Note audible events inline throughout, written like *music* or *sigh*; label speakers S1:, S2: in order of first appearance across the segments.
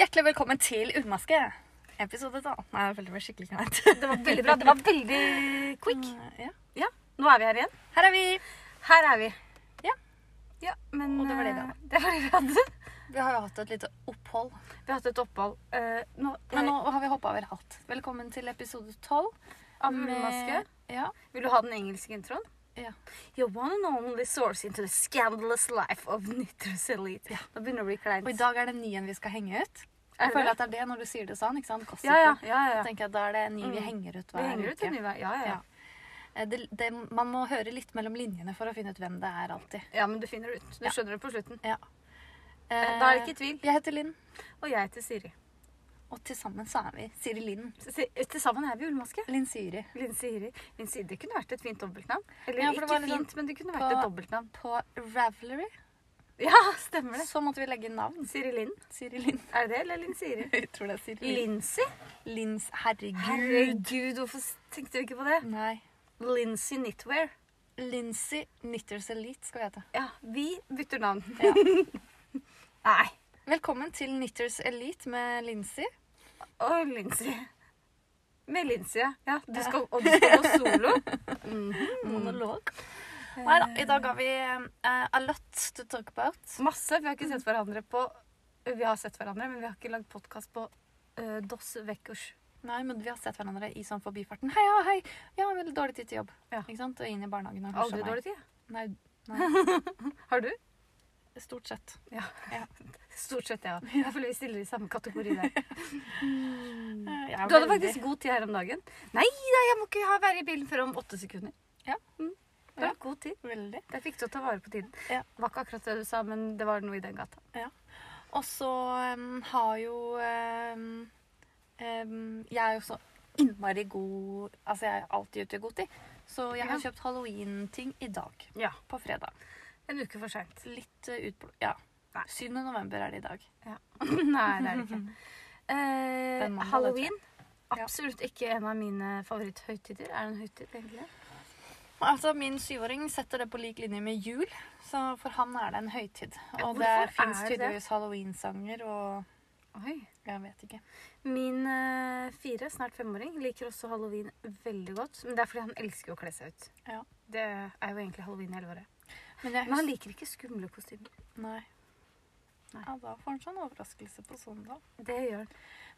S1: Hjertelig velkommen til Utmaske. Episode da. Nei, jeg følte meg skikkelig kleint.
S2: Det var veldig bra. Det var veldig quick.
S1: Ja.
S2: Mm, Ja, nå er vi her igjen.
S1: Her er vi.
S2: Her er vi.
S1: Ja.
S2: Ja, men
S1: Og det var det vi
S2: eh,
S1: hadde.
S2: *laughs* det var det vi hadde.
S1: Vi har jo hatt et lite opphold,
S2: Vi har hatt et opphold. eh, nå,
S1: men nå har vi hoppa over alt. Velkommen til episode tolv. mm,
S2: Av Utmaske?
S1: Ja.
S2: Vil du ha den engelske introen?
S1: ja.
S2: Your one and only source into the scandalous life of Nitrous Elite. Nå begynner det å bli kleint.
S1: Og i dag er det ni en vi skal henge ut.
S2: Er
S1: Jeg
S2: det
S1: føler
S2: det?
S1: at det er det når du sier det sånn. ikke sant? Gossip.
S2: Ja, ja, ja, ja.
S1: Da tenker jeg at da er det ni vi
S2: Mm.
S1: henger ut
S2: Vi
S1: hver
S2: henger ut en ny
S1: uke.
S2: vei. Ja, ja, ja.
S1: Ja. Eh, Det, det, man må høre litt mellom linjene for å finne ut hvem det er, alltid.
S2: Ja, men du finner det ut. Du
S1: Ja.
S2: skjønner det på slutten.
S1: Ja.
S2: Eh, Da er det ikke tvil.
S1: Jeg heter Linn,
S2: Og jeg heter Siri.
S1: og til sammen så er vi Siri Linn.
S2: Si- Til sammen er vi Ullmaske.
S1: Linn Siri.
S2: Linn Siri. Linn Siri, Det kunne vært et fint dobbeltnavn. Eller
S1: Ja, for det
S2: ikke
S1: var litt sånn
S2: fint, men det kunne
S1: på-
S2: vært
S1: *laughs*
S2: et dobbeltnavn.
S1: På Ravelry
S2: Ja, stemmer det.
S1: så måtte vi legge inn navn.
S2: Siri Linn.
S1: Siri Linn. *laughs*
S2: Er det det, eller Linn Siri?
S1: Jeg tror det er Siri Linn.
S2: Lincy?
S1: Linns Herregud.
S2: Herregud, hvorfor s- tenkte vi ikke på det?
S1: Nei.
S2: Lincy Knitwear.
S1: Lincy Knitters Elite skal vi hete.
S2: Ja, vi bytter navn.
S1: Ja.
S2: *laughs* Nei.
S1: Velkommen til Knitters Elite med Lincy.
S2: Og Lincy. Med Lincy, ja. ja du
S1: Ja.
S2: skal, og du skal
S1: *laughs*
S2: gå solo. Mhm.
S1: Monolog. Nei da, i dag har vi eh, a lot to talk about.
S2: Masse. Vi har ikke sett hverandre på Vi har sett hverandre, men vi har ikke lagd podkast på eh, Dos Vekkers.
S1: Nei, men vi har sett hverandre i sånn forbifarten. Hei, ja, hei. Ja, veldig dårlig tid til jobb.
S2: Ja.
S1: Ikke sant? Og inn i barnehagen og
S2: Aldri
S1: meg.
S2: dårlig tid.
S1: Nei, nei,
S2: Har du?
S1: stort sett.
S2: Stort sett, ja. Jeg føler vi stiller i samme kategori der.
S1: *laughs* Eh, jeg er
S2: Mm. Du hadde
S1: veldig-
S2: faktisk god tid her om dagen. Nei da, jeg må ikke ha være i bilen før om åtte sekunder.
S1: Ja.
S2: Mm. Det var
S1: Ja.
S2: god tid.
S1: Veldig.
S2: Det er viktig å ta vare på tiden.
S1: Ja.
S2: Det var ikke akkurat det du sa, men det var noe i den gata.
S1: Og så em, har jo em, em, Jeg er jo så innmari god Altså, jeg er alltid ute i god tid. Så jeg har
S2: Ja.
S1: kjøpt halloween-ting i dag.
S2: Ja.
S1: På fredag.
S2: En uke for seint.
S1: Litt uh, utblå... Ja.
S2: Nei. Mhm.
S1: 7. november er det i dag.
S2: *laughs* Nei, det er det ikke.
S1: *laughs*
S2: Eh,
S1: mandag,
S2: Halloween.
S1: Ja.
S2: Absolutt ikke en av mine favoritthøytider. Er det en høytid, egentlig?
S1: Altså, Min syvåring setter det på lik linje med jul, så for han er det en høytid.
S2: Ja,
S1: Og
S2: hvorfor
S1: det fins
S2: er det?
S1: tydeligvis halloweensanger og
S2: Oi.
S1: Jeg vet ikke.
S2: Min eh, fire, snart femåring, liker også halloween veldig godt. Men det er fordi han elsker å kle seg ut.
S1: Ja.
S2: Det er jo egentlig halloween hele året.
S1: Men jeg
S2: Men
S1: husker
S2: han liker ikke skumle kostymer.
S1: Nei.
S2: Nei.
S1: Ja, da får han seg en overraskelse på søndag.
S2: Det gjør han.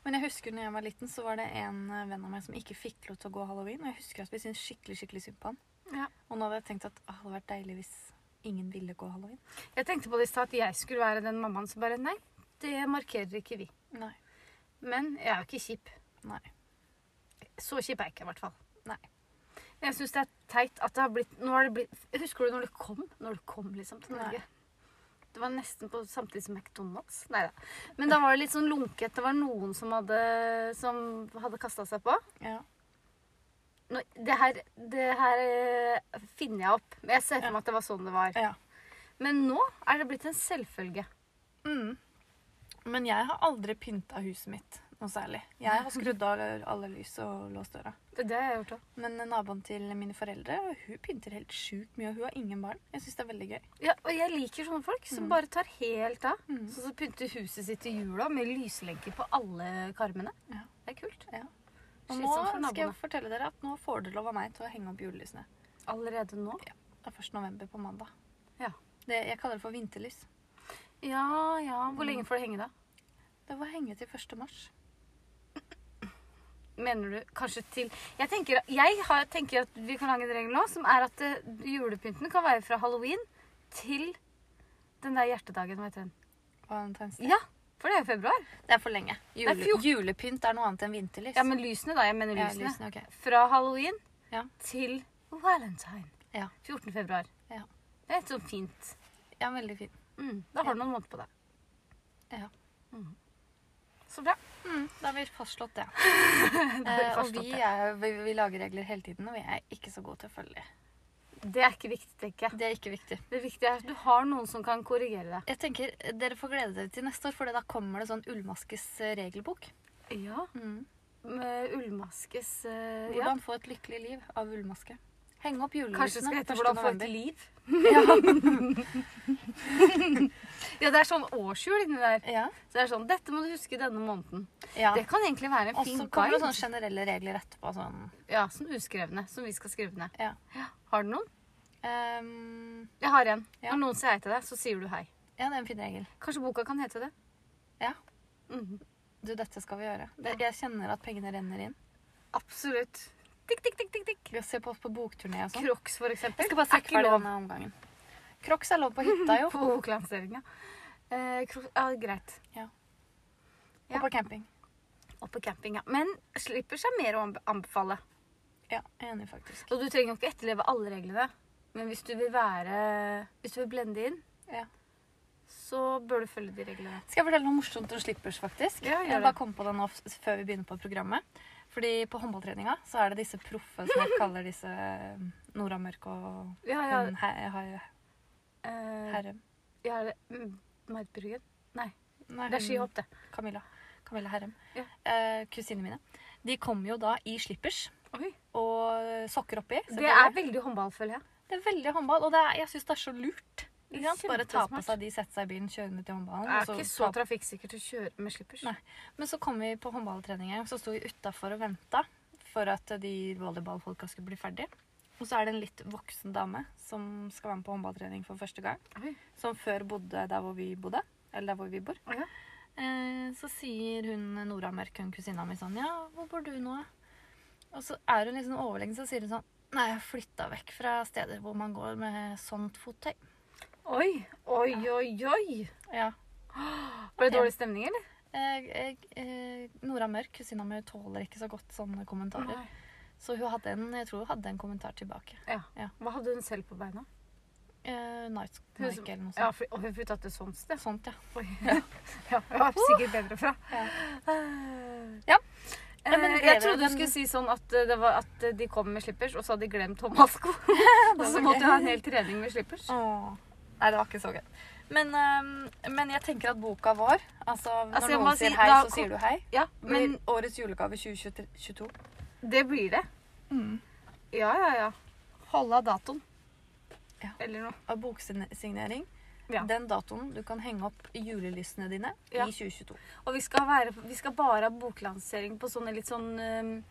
S1: Men jeg husker når jeg var liten, så var det en eh, venn av meg som ikke fikk lov til å gå halloween. Og jeg husker at vi syntes skikkelig skikkelig synd på han.
S2: Ja.
S1: Og nå hadde jeg tenkt at «Åh, det hadde vært deilig hvis ingen ville gå halloween.
S2: Jeg tenkte på det i stad, at jeg skulle være den mammaen som bare Nei, det markerer ikke vi.
S1: Nei.
S2: Men jeg er jo ikke kjip.
S1: Nei.
S2: Så kjip er jeg ikke, i hvert fall.
S1: Nei.
S2: Men jeg syns det er teit at det har blitt, nå har det blitt Husker du når det kom? Når det kom liksom til Norge? Det var nesten på samtidig som McDonald's. Nei da. Men da var det litt sånn lunket. Det var noen som hadde, som hadde kasta seg på.
S1: Ja.
S2: Nå, det, her, det her eh, finner jeg opp. Men Jeg ser for meg at det var sånn det var.
S1: ja.
S2: Men nå er det blitt en selvfølge.
S1: Mm. Men jeg har aldri pynta huset mitt noe særlig. Jeg har skrudd av alle lys og låst døra.
S2: Det, det har jeg gjort òg.
S1: Men naboen til mine foreldre hun pynter helt sjukt mye, og hun har ingen barn. Jeg syns det er veldig gøy.
S2: Ja, og jeg liker sånne folk som
S1: Mm.
S2: bare tar helt av.
S1: Mm.
S2: Sånn som pynter huset sitt i jula med lyslenker på alle karmene.
S1: Ja.
S2: Det er kult.
S1: Ja. Og nå
S2: Slitsomt for
S1: skal jeg
S2: naboene.
S1: fortelle dere at nå får dere lov av meg til å henge opp julelysene.
S2: Allerede nå?
S1: Det er 1. november på mandag.
S2: Ja.
S1: Det, jeg kaller det for vinterlys.
S2: Ja, ja. Hvor lenge får det henge, da?
S1: Det var henge til 1. mars.
S2: Mener du kanskje til Jeg tenker, jeg har, tenker at vi kan lage en regel nå som er at eh, julepynten kan være fra halloween til den der hjertedagen. Hva heter den?
S1: Valentine's Day.
S2: Ja, for det er jo februar.
S1: Det er for lenge. Jule,
S2: Det er fjor-
S1: julepynt er noe annet enn vinterlys.
S2: Ja, men lysene, da. Jeg mener
S1: Ja,
S2: lysene.
S1: lysene, ok.
S2: Fra halloween
S1: Ja.
S2: til valentine.
S1: Ja.
S2: 14. februar.
S1: Ja.
S2: Det er et sånt fint
S1: ja, veldig fin.
S2: mm, Da har du noen måneder på deg. Mm.
S1: Ja.
S2: Så bra.
S1: Mm, da har vi fastslått
S2: *laughs*
S1: det.
S2: har vi
S1: Eh, og
S2: fastslått
S1: vi,
S2: det.
S1: er, vi, vi lager regler hele tiden, og vi er ikke så gode til å følge dem.
S2: Det er ikke viktig, tenker jeg.
S1: Det er ikke viktig.
S2: Det viktige er at du har noen som kan korrigere deg.
S1: Jeg tenker eh, Dere får glede dere til neste år, for da kommer det sånn Ullmaskes eh, regelbok.
S2: Ja.
S1: Mm.
S2: Med ullmaskes eh, ja.
S1: Hvordan få et lykkelig liv av ullmaske. Henge opp sånn?
S2: Kanskje det
S1: julelysene *laughs*
S2: skal hete
S1: 1.
S2: 'Hvordan få et
S1: november.
S2: liv'?
S1: Ja.
S2: *laughs* Ja, det er sånn årshjul inni der.
S1: Ja.
S2: Så det er sånn, Dette må du huske denne måneden.
S1: ja.
S2: Det kan egentlig være en
S1: Og
S2: fin
S1: så kommer
S2: guide.
S1: det sånn sånne generelle regler etterpå. Sånn.
S2: Ja, Som uskrevne, som vi skal skrive ned.
S1: Ja.
S2: Har du noen?
S1: Ehm,
S2: Jeg har en.
S1: Ja.
S2: Når noen sier hei til deg, så sier du hei.
S1: ja, det er en fin regel.
S2: Kanskje boka kan hete det.
S1: Ja.
S2: Mhm.
S1: Du, dette skal vi gjøre.
S2: Ja.
S1: Jeg kjenner at pengene renner inn.
S2: Absolutt. Tikk, tikk, tikk, tikk, tikk.
S1: Vi ser på oss på bokturné og sånn.
S2: Crocs, for eksempel.
S1: Jeg skal bare se
S2: er ikke
S1: ferdig
S2: lov
S1: denne omgangen. Crocs er lov på hytta, jo.
S2: *laughs* på boklanseringa. Eh, Crocs- ja, greit. ja.
S1: Og på camping.
S2: Og på camping, ja. Men slipper seg mer å anbe- anbefale.
S1: Ja, jeg er enig, faktisk.
S2: Og du trenger jo ikke etterleve alle reglene. Men hvis du vil være Hvis du vil blende inn,
S1: Ja.
S2: så bør du følge de reglene.
S1: Skal jeg fortelle noe morsomt om slippers, faktisk?
S2: Ja, gjør
S1: jeg
S2: det.
S1: bare kom på det nå f- før vi begynner på programmet. Fordi på håndballtreninga så er det disse proffe som jeg kaller disse um, Nora Mørk og
S2: Ja, ja.
S1: hun he- he-
S2: Mm. eh,
S1: Herrem.
S2: ja er det- mm, Marit Bruggen? Nei,
S1: Nei,
S2: det er
S1: hun-
S2: skihopp, det.
S1: Camilla. Camilla Herrem.
S2: Ja.
S1: Eh, kusinene mine. De kom jo da i slippers
S2: Oi.
S1: og sokker oppi.
S2: Det
S1: selvfølgelig.
S2: er veldig håndball, føler jeg.
S1: Det er veldig håndball, og det er, jeg syns det er så lurt.
S2: Det er
S1: Ikke sant? Bare ta på
S2: kjempesmart.
S1: seg de, sette seg i bilen, kjøre ned til håndballen.
S2: Det er
S1: og
S2: ikke
S1: altså, ta
S2: så
S1: på-
S2: trafikksikkert å kjøre med slippers.
S1: Nei. Men så kom vi på håndballtrening en gang, så sto vi utafor og venta for at de volleyballfolka skulle bli ferdig. Og så er det en litt voksen dame som skal være med på håndballtrening for første gang.
S2: Oi.
S1: Som før bodde der hvor vi bodde. Eller der hvor vi bor.
S2: Ja.
S1: Eh, så sier hun Nora Mørk, hun kusina mi, sånn Ja, hvor bor du nå? Og så er hun litt sånn overlegen, så sier hun sånn Nei, jeg flytta vekk fra steder hvor man går med sånt fottøy.
S2: Oi, oi, oi, oi.
S1: Ja.
S2: Ble det dårlig stemning, eller?
S1: Eh, eh, eh, Nora Mørk, kusina mi, tåler ikke så godt sånne kommentarer. Så hun hadde en, jeg tror hun hadde en kommentar tilbake.
S2: Ja.
S1: Ja.
S2: Hva hadde hun selv på beina?
S1: Eh, Night
S2: Hun
S1: Nike
S2: som-
S1: eller noe
S2: Ja,
S1: sånt.
S2: for, og hun flytta til
S1: *laughs*
S2: sånt sted.
S1: Sånt, ja.
S2: Oi. Ja, ja det var sikkert bedre fra.
S1: Ja.
S2: Ja.
S1: Ja.
S2: Eh,
S1: Ja, men det
S2: jeg
S1: er
S2: trodde du
S1: den-
S2: skulle si sånn at, eh, det var at eh, de kom med slippers, og så hadde de
S1: *laughs*
S2: glemt *laughs* håndvasko. og så
S1: var
S2: måtte
S1: gøy.
S2: du ha en hel trening med slippers.
S1: Åh. Nei, det var ikke så gøy. Men, ehm, men jeg tenker at boka vår Altså, når
S2: Altså, jeg må
S1: noen sier
S2: si-
S1: hei,
S2: da
S1: så
S2: kom-
S1: sier du hei.
S2: Ja,
S1: Men
S2: men
S1: årets julegave 2022.
S2: det blir det.
S1: Mm.
S2: Ja, ja, ja. Holde av datoen.
S1: Ja.
S2: Eller noe.
S1: Av boksignering.
S2: Ja.
S1: Den datoen du kan henge opp i julelysene dine
S2: Ja.
S1: i 2022.
S2: Og vi skal, være, vi skal bare ha boklansering på sånne litt sånn eh,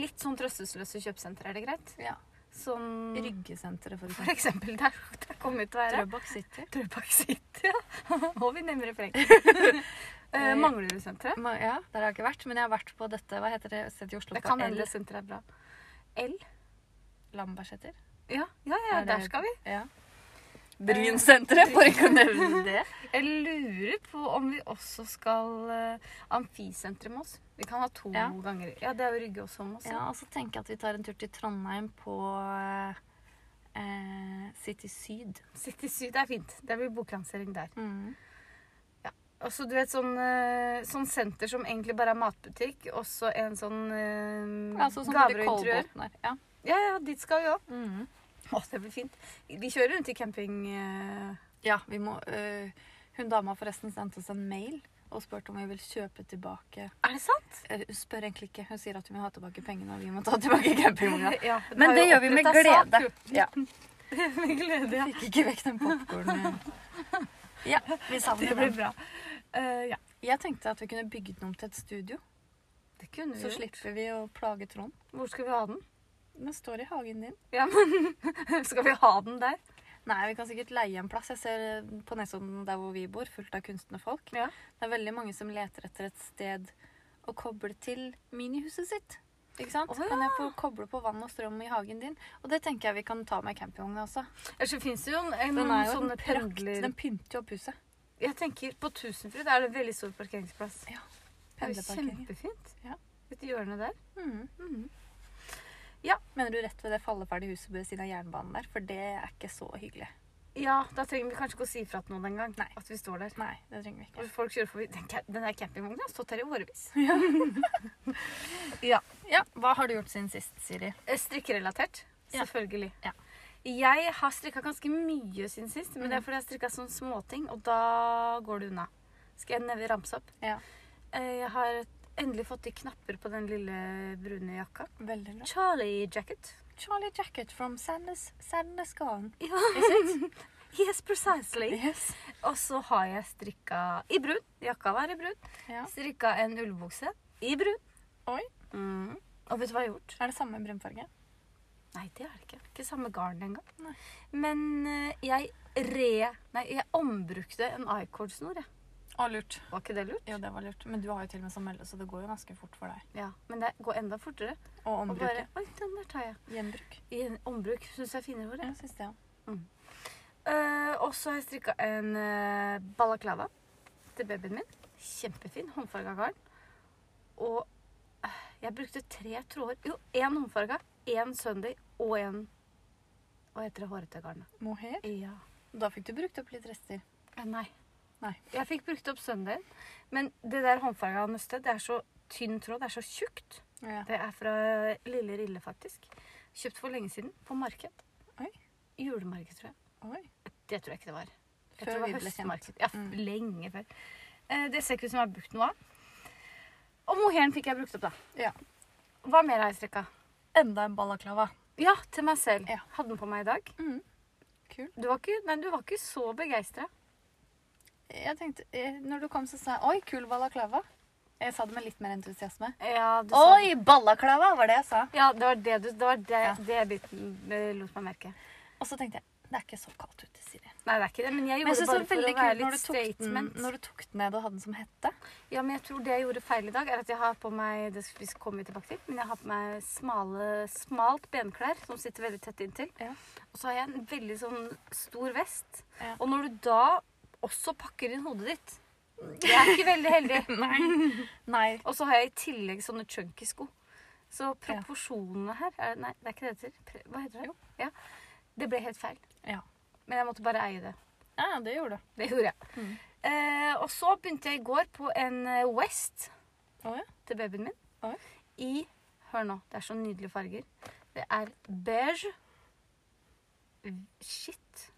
S2: Litt sånn trøstesløse kjøpesentre, er det greit?
S1: Ja.
S2: Sånn
S1: Ryggesenteret, for
S2: For
S1: eksempel.
S2: eksempel der, der kommer vi til å være.
S1: Drøbak City.
S2: Drøbak City, ja. *laughs* Og vi
S1: *laughs*
S2: nevner refrenget.
S1: Eh,
S2: uh, Manglerudsenteret.
S1: Ma- Ja, der har jeg ikke vært, men jeg har vært på dette. Hva heter det stedet i Oslo?
S2: Det
S1: på
S2: kan
S1: L?
S2: hende det senteret er bra. L?
S1: Lambertseter?
S2: Ja, ja, ja,
S1: Er det-
S2: der skal vi.
S1: Ja. Brynsenteret, for ikke å nevne det.
S2: Jeg lurer på om vi også skal uh, amfisenteret med oss. Vi kan ha to
S1: Ja.
S2: ganger. Ja, det er jo Rygge også med oss.
S1: *laughs* Ja, og så tenker jeg at vi tar en tur til Trondheim på eh, City Syd.
S2: City Syd er fint. Det blir boklansering der.
S1: Mm.
S2: Og så du vet sånn, eh, sånn senter som egentlig bare er matbutikk, og så en sånn uh,
S1: Ja, sånn som
S2: gaver
S1: blir
S2: og interiør.
S1: Kolbotn her. Ja.
S2: Ja, ja, dit skal vi òg.
S1: Mm.
S2: Å, det blir fint. Vi kjører rundt i camping... eh,
S1: ja, vi må eh, Hun dama forresten sendte oss en mail og spurte om vi vil kjøpe tilbake
S2: Er det sant?
S1: Eh, Hun spør egentlig ikke. Hun sier at hun vil ha tilbake pengene, og vi må ta tilbake campingvogna.
S2: *laughs* Ja,
S1: *laughs* Men
S2: har
S1: det
S2: jo
S1: gjør vi med
S2: opprettet sak,
S1: glede.
S2: jo.
S1: *laughs* Ja.
S2: *laughs* med glede, ja.
S1: Fikk ikke vekk den popkornen. *laughs* Ja, vi
S2: Det
S1: savner
S2: blir
S1: den.
S2: bra. Eh, ja.
S1: Jeg tenkte at vi kunne bygget den om til et studio.
S2: Det kunne vi
S1: Så
S2: jo.
S1: slipper vi å plage Trond.
S2: Hvor skal vi ha den?
S1: Den står i hagen din.
S2: Ja, men *laughs* Skal vi ha den der?
S1: Nei, vi kan sikkert leie en plass. Jeg ser eh, på Nesodden der hvor vi bor, fullt av kunstnerfolk.
S2: Ja.
S1: Det er veldig mange som leter etter et sted å koble til minihuset sitt. Ikke sant?
S2: Å, ja.
S1: Kan jeg få koble på vann og strøm i hagen din? Og det tenker jeg vi kan ta med campingvogna også.
S2: Ellers så finnes det jo en- en
S1: Den er jo
S2: sånne
S1: en prakt.
S2: pendler...
S1: Den pynter jo opp huset.
S2: Jeg tenker På Tusenfryd er det en veldig stor parkeringsplass. Det er jo
S1: Pendlerparkeringen.
S2: kjempefint.
S1: Ja.
S2: Et hjørne der.
S1: Mhm.
S2: Mhm.
S1: Mener du rett ved det falleferdige huset ved siden av jernbanen der? For det er ikke så hyggelig.
S2: Ja, da trenger vi kanskje ikke å si fra til noen engang
S1: Nei.
S2: at vi står der.
S1: Nei, det trenger vi ikke.
S2: Og folk kjører forbi. Den, ca- den der campingvogna har stått her i årevis.
S1: Ja, Hva har du gjort siden sist, Siri?
S2: Eh, Strikkerelatert,
S1: Ja.
S2: selvfølgelig.
S1: Ja.
S2: Jeg har strikka ganske mye siden sist, men
S1: Mhm.
S2: det er fordi jeg har strikka sånne småting, og da går det unna. Skal jeg neve ramse opp?
S1: Ja.
S2: Eh, Jeg har endelig fått de knapper på den lille brune jakka.
S1: Veldig bra.
S2: Charlie jacket.
S1: Charlie Jacket from Sadness, Sadness Gone.
S2: Ja. *laughs*
S1: Is it?
S2: Yes, precisely.
S1: *laughs* Yes.
S2: Og så har jeg strikka i brun. Jakka var i brun.
S1: Ja.
S2: Strikka en ullbukse i brun.
S1: Oi.
S2: Mm. Og vet du hva jeg har gjort?
S1: Er det samme brunfarge?
S2: Nei, det er det ikke. Ikke samme garn engang.
S1: Nei.
S2: Men eh, jeg re... Nei, jeg ombrukte en icord-snor, jeg.
S1: Å, lurt.
S2: Var ikke det lurt?
S1: Jo, det var lurt. Men du har jo til og med samme melde, så det går jo ganske fort for deg.
S2: Ja. Men det går enda fortere.
S1: Å
S2: Og
S1: ombruke.
S2: bare Oi, den der tar jeg.
S1: Gjenbruk.
S2: I en ombruk syns jeg er finere ord. jeg.
S1: Ja, synes det, ja.
S2: Eh, og så har jeg strikka en eh, balaklava til babyen min. Kjempefin. Håndfarga garn. Og eh, jeg brukte tre tråder. Jo, én håndfarga, én Sunday og en Hva heter det hårete garnet?
S1: Mohair.
S2: Ja.
S1: Da fikk du brukt opp litt rester.
S2: Eh, Nei.
S1: Nei.
S2: Jeg fikk brukt opp Sundayen. Men det der håndfarga nøstet, det er så tynn tråd. Det er så tjukt.
S1: Ja.
S2: Det er fra Lille Rille, faktisk. Kjøpt for lenge siden. På marked.
S1: Oi.
S2: Julemarked, tror jeg.
S1: Oi.
S2: Det tror jeg ikke det var. Jeg
S1: Før
S2: tror det
S1: vi
S2: var
S1: ble kjent.
S2: høstmarked. Ja,
S1: Mm.
S2: lenge før. Eh, Det ser ikke ut som jeg har brukt noe av. Og mohairen fikk jeg brukt opp, da.
S1: Ja.
S2: Hva mer har jeg strekka?
S1: Enda en balaklava.
S2: Ja, til meg selv.
S1: Ja.
S2: Hadde den på meg i dag.
S1: Mm. Kul.
S2: Du var ikke, nei, du var ikke så begeistra.
S1: Jeg tenkte, eh, når du kom så sa jeg, oi, kul balaklava. Jeg sa det med litt mer entusiasme.
S2: Ja, du sa-
S1: Oi, balaklava var det jeg sa.
S2: Ja, det var det du Det var det,
S1: Ja.
S2: det biten eh, lot meg merke.
S1: Og så tenkte jeg, det er ikke så kaldt ute, Siri.
S2: Nei, det er ikke det, men jeg
S1: Men jeg
S2: gjorde
S1: synes det
S2: bare
S1: var
S2: for å
S1: veldig
S2: være
S1: kult når du,
S2: litt
S1: tok den,
S2: statement.
S1: når du tok den ned og hadde den som hette.
S2: Ja, men jeg tror det jeg gjorde feil i dag, er at jeg har på meg det vi kommer vi tilbake til, men jeg har på meg smale, smalt benklær som sitter veldig tett inntil.
S1: Ja.
S2: Og så har jeg en veldig sånn stor vest.
S1: Ja.
S2: Og når du da også pakker inn hodet ditt Det er ikke veldig heldig.
S1: Nei. Nei.
S2: Og så har jeg i tillegg sånne chunky sko. Så proporsjonene her er, Nei, det er ikke det det heter. Pre- Hva heter det?
S1: Jo.
S2: Ja. Det ble helt feil.
S1: Ja.
S2: Men jeg måtte bare eie det.
S1: Ja, det gjorde du.
S2: Det gjorde jeg.
S1: Mm.
S2: Eh, og så begynte jeg i går på en eh, West
S1: Å, ja.
S2: til babyen min.
S1: Oi.
S2: I Hør nå, det er så nydelige farger. Det er beige Shit.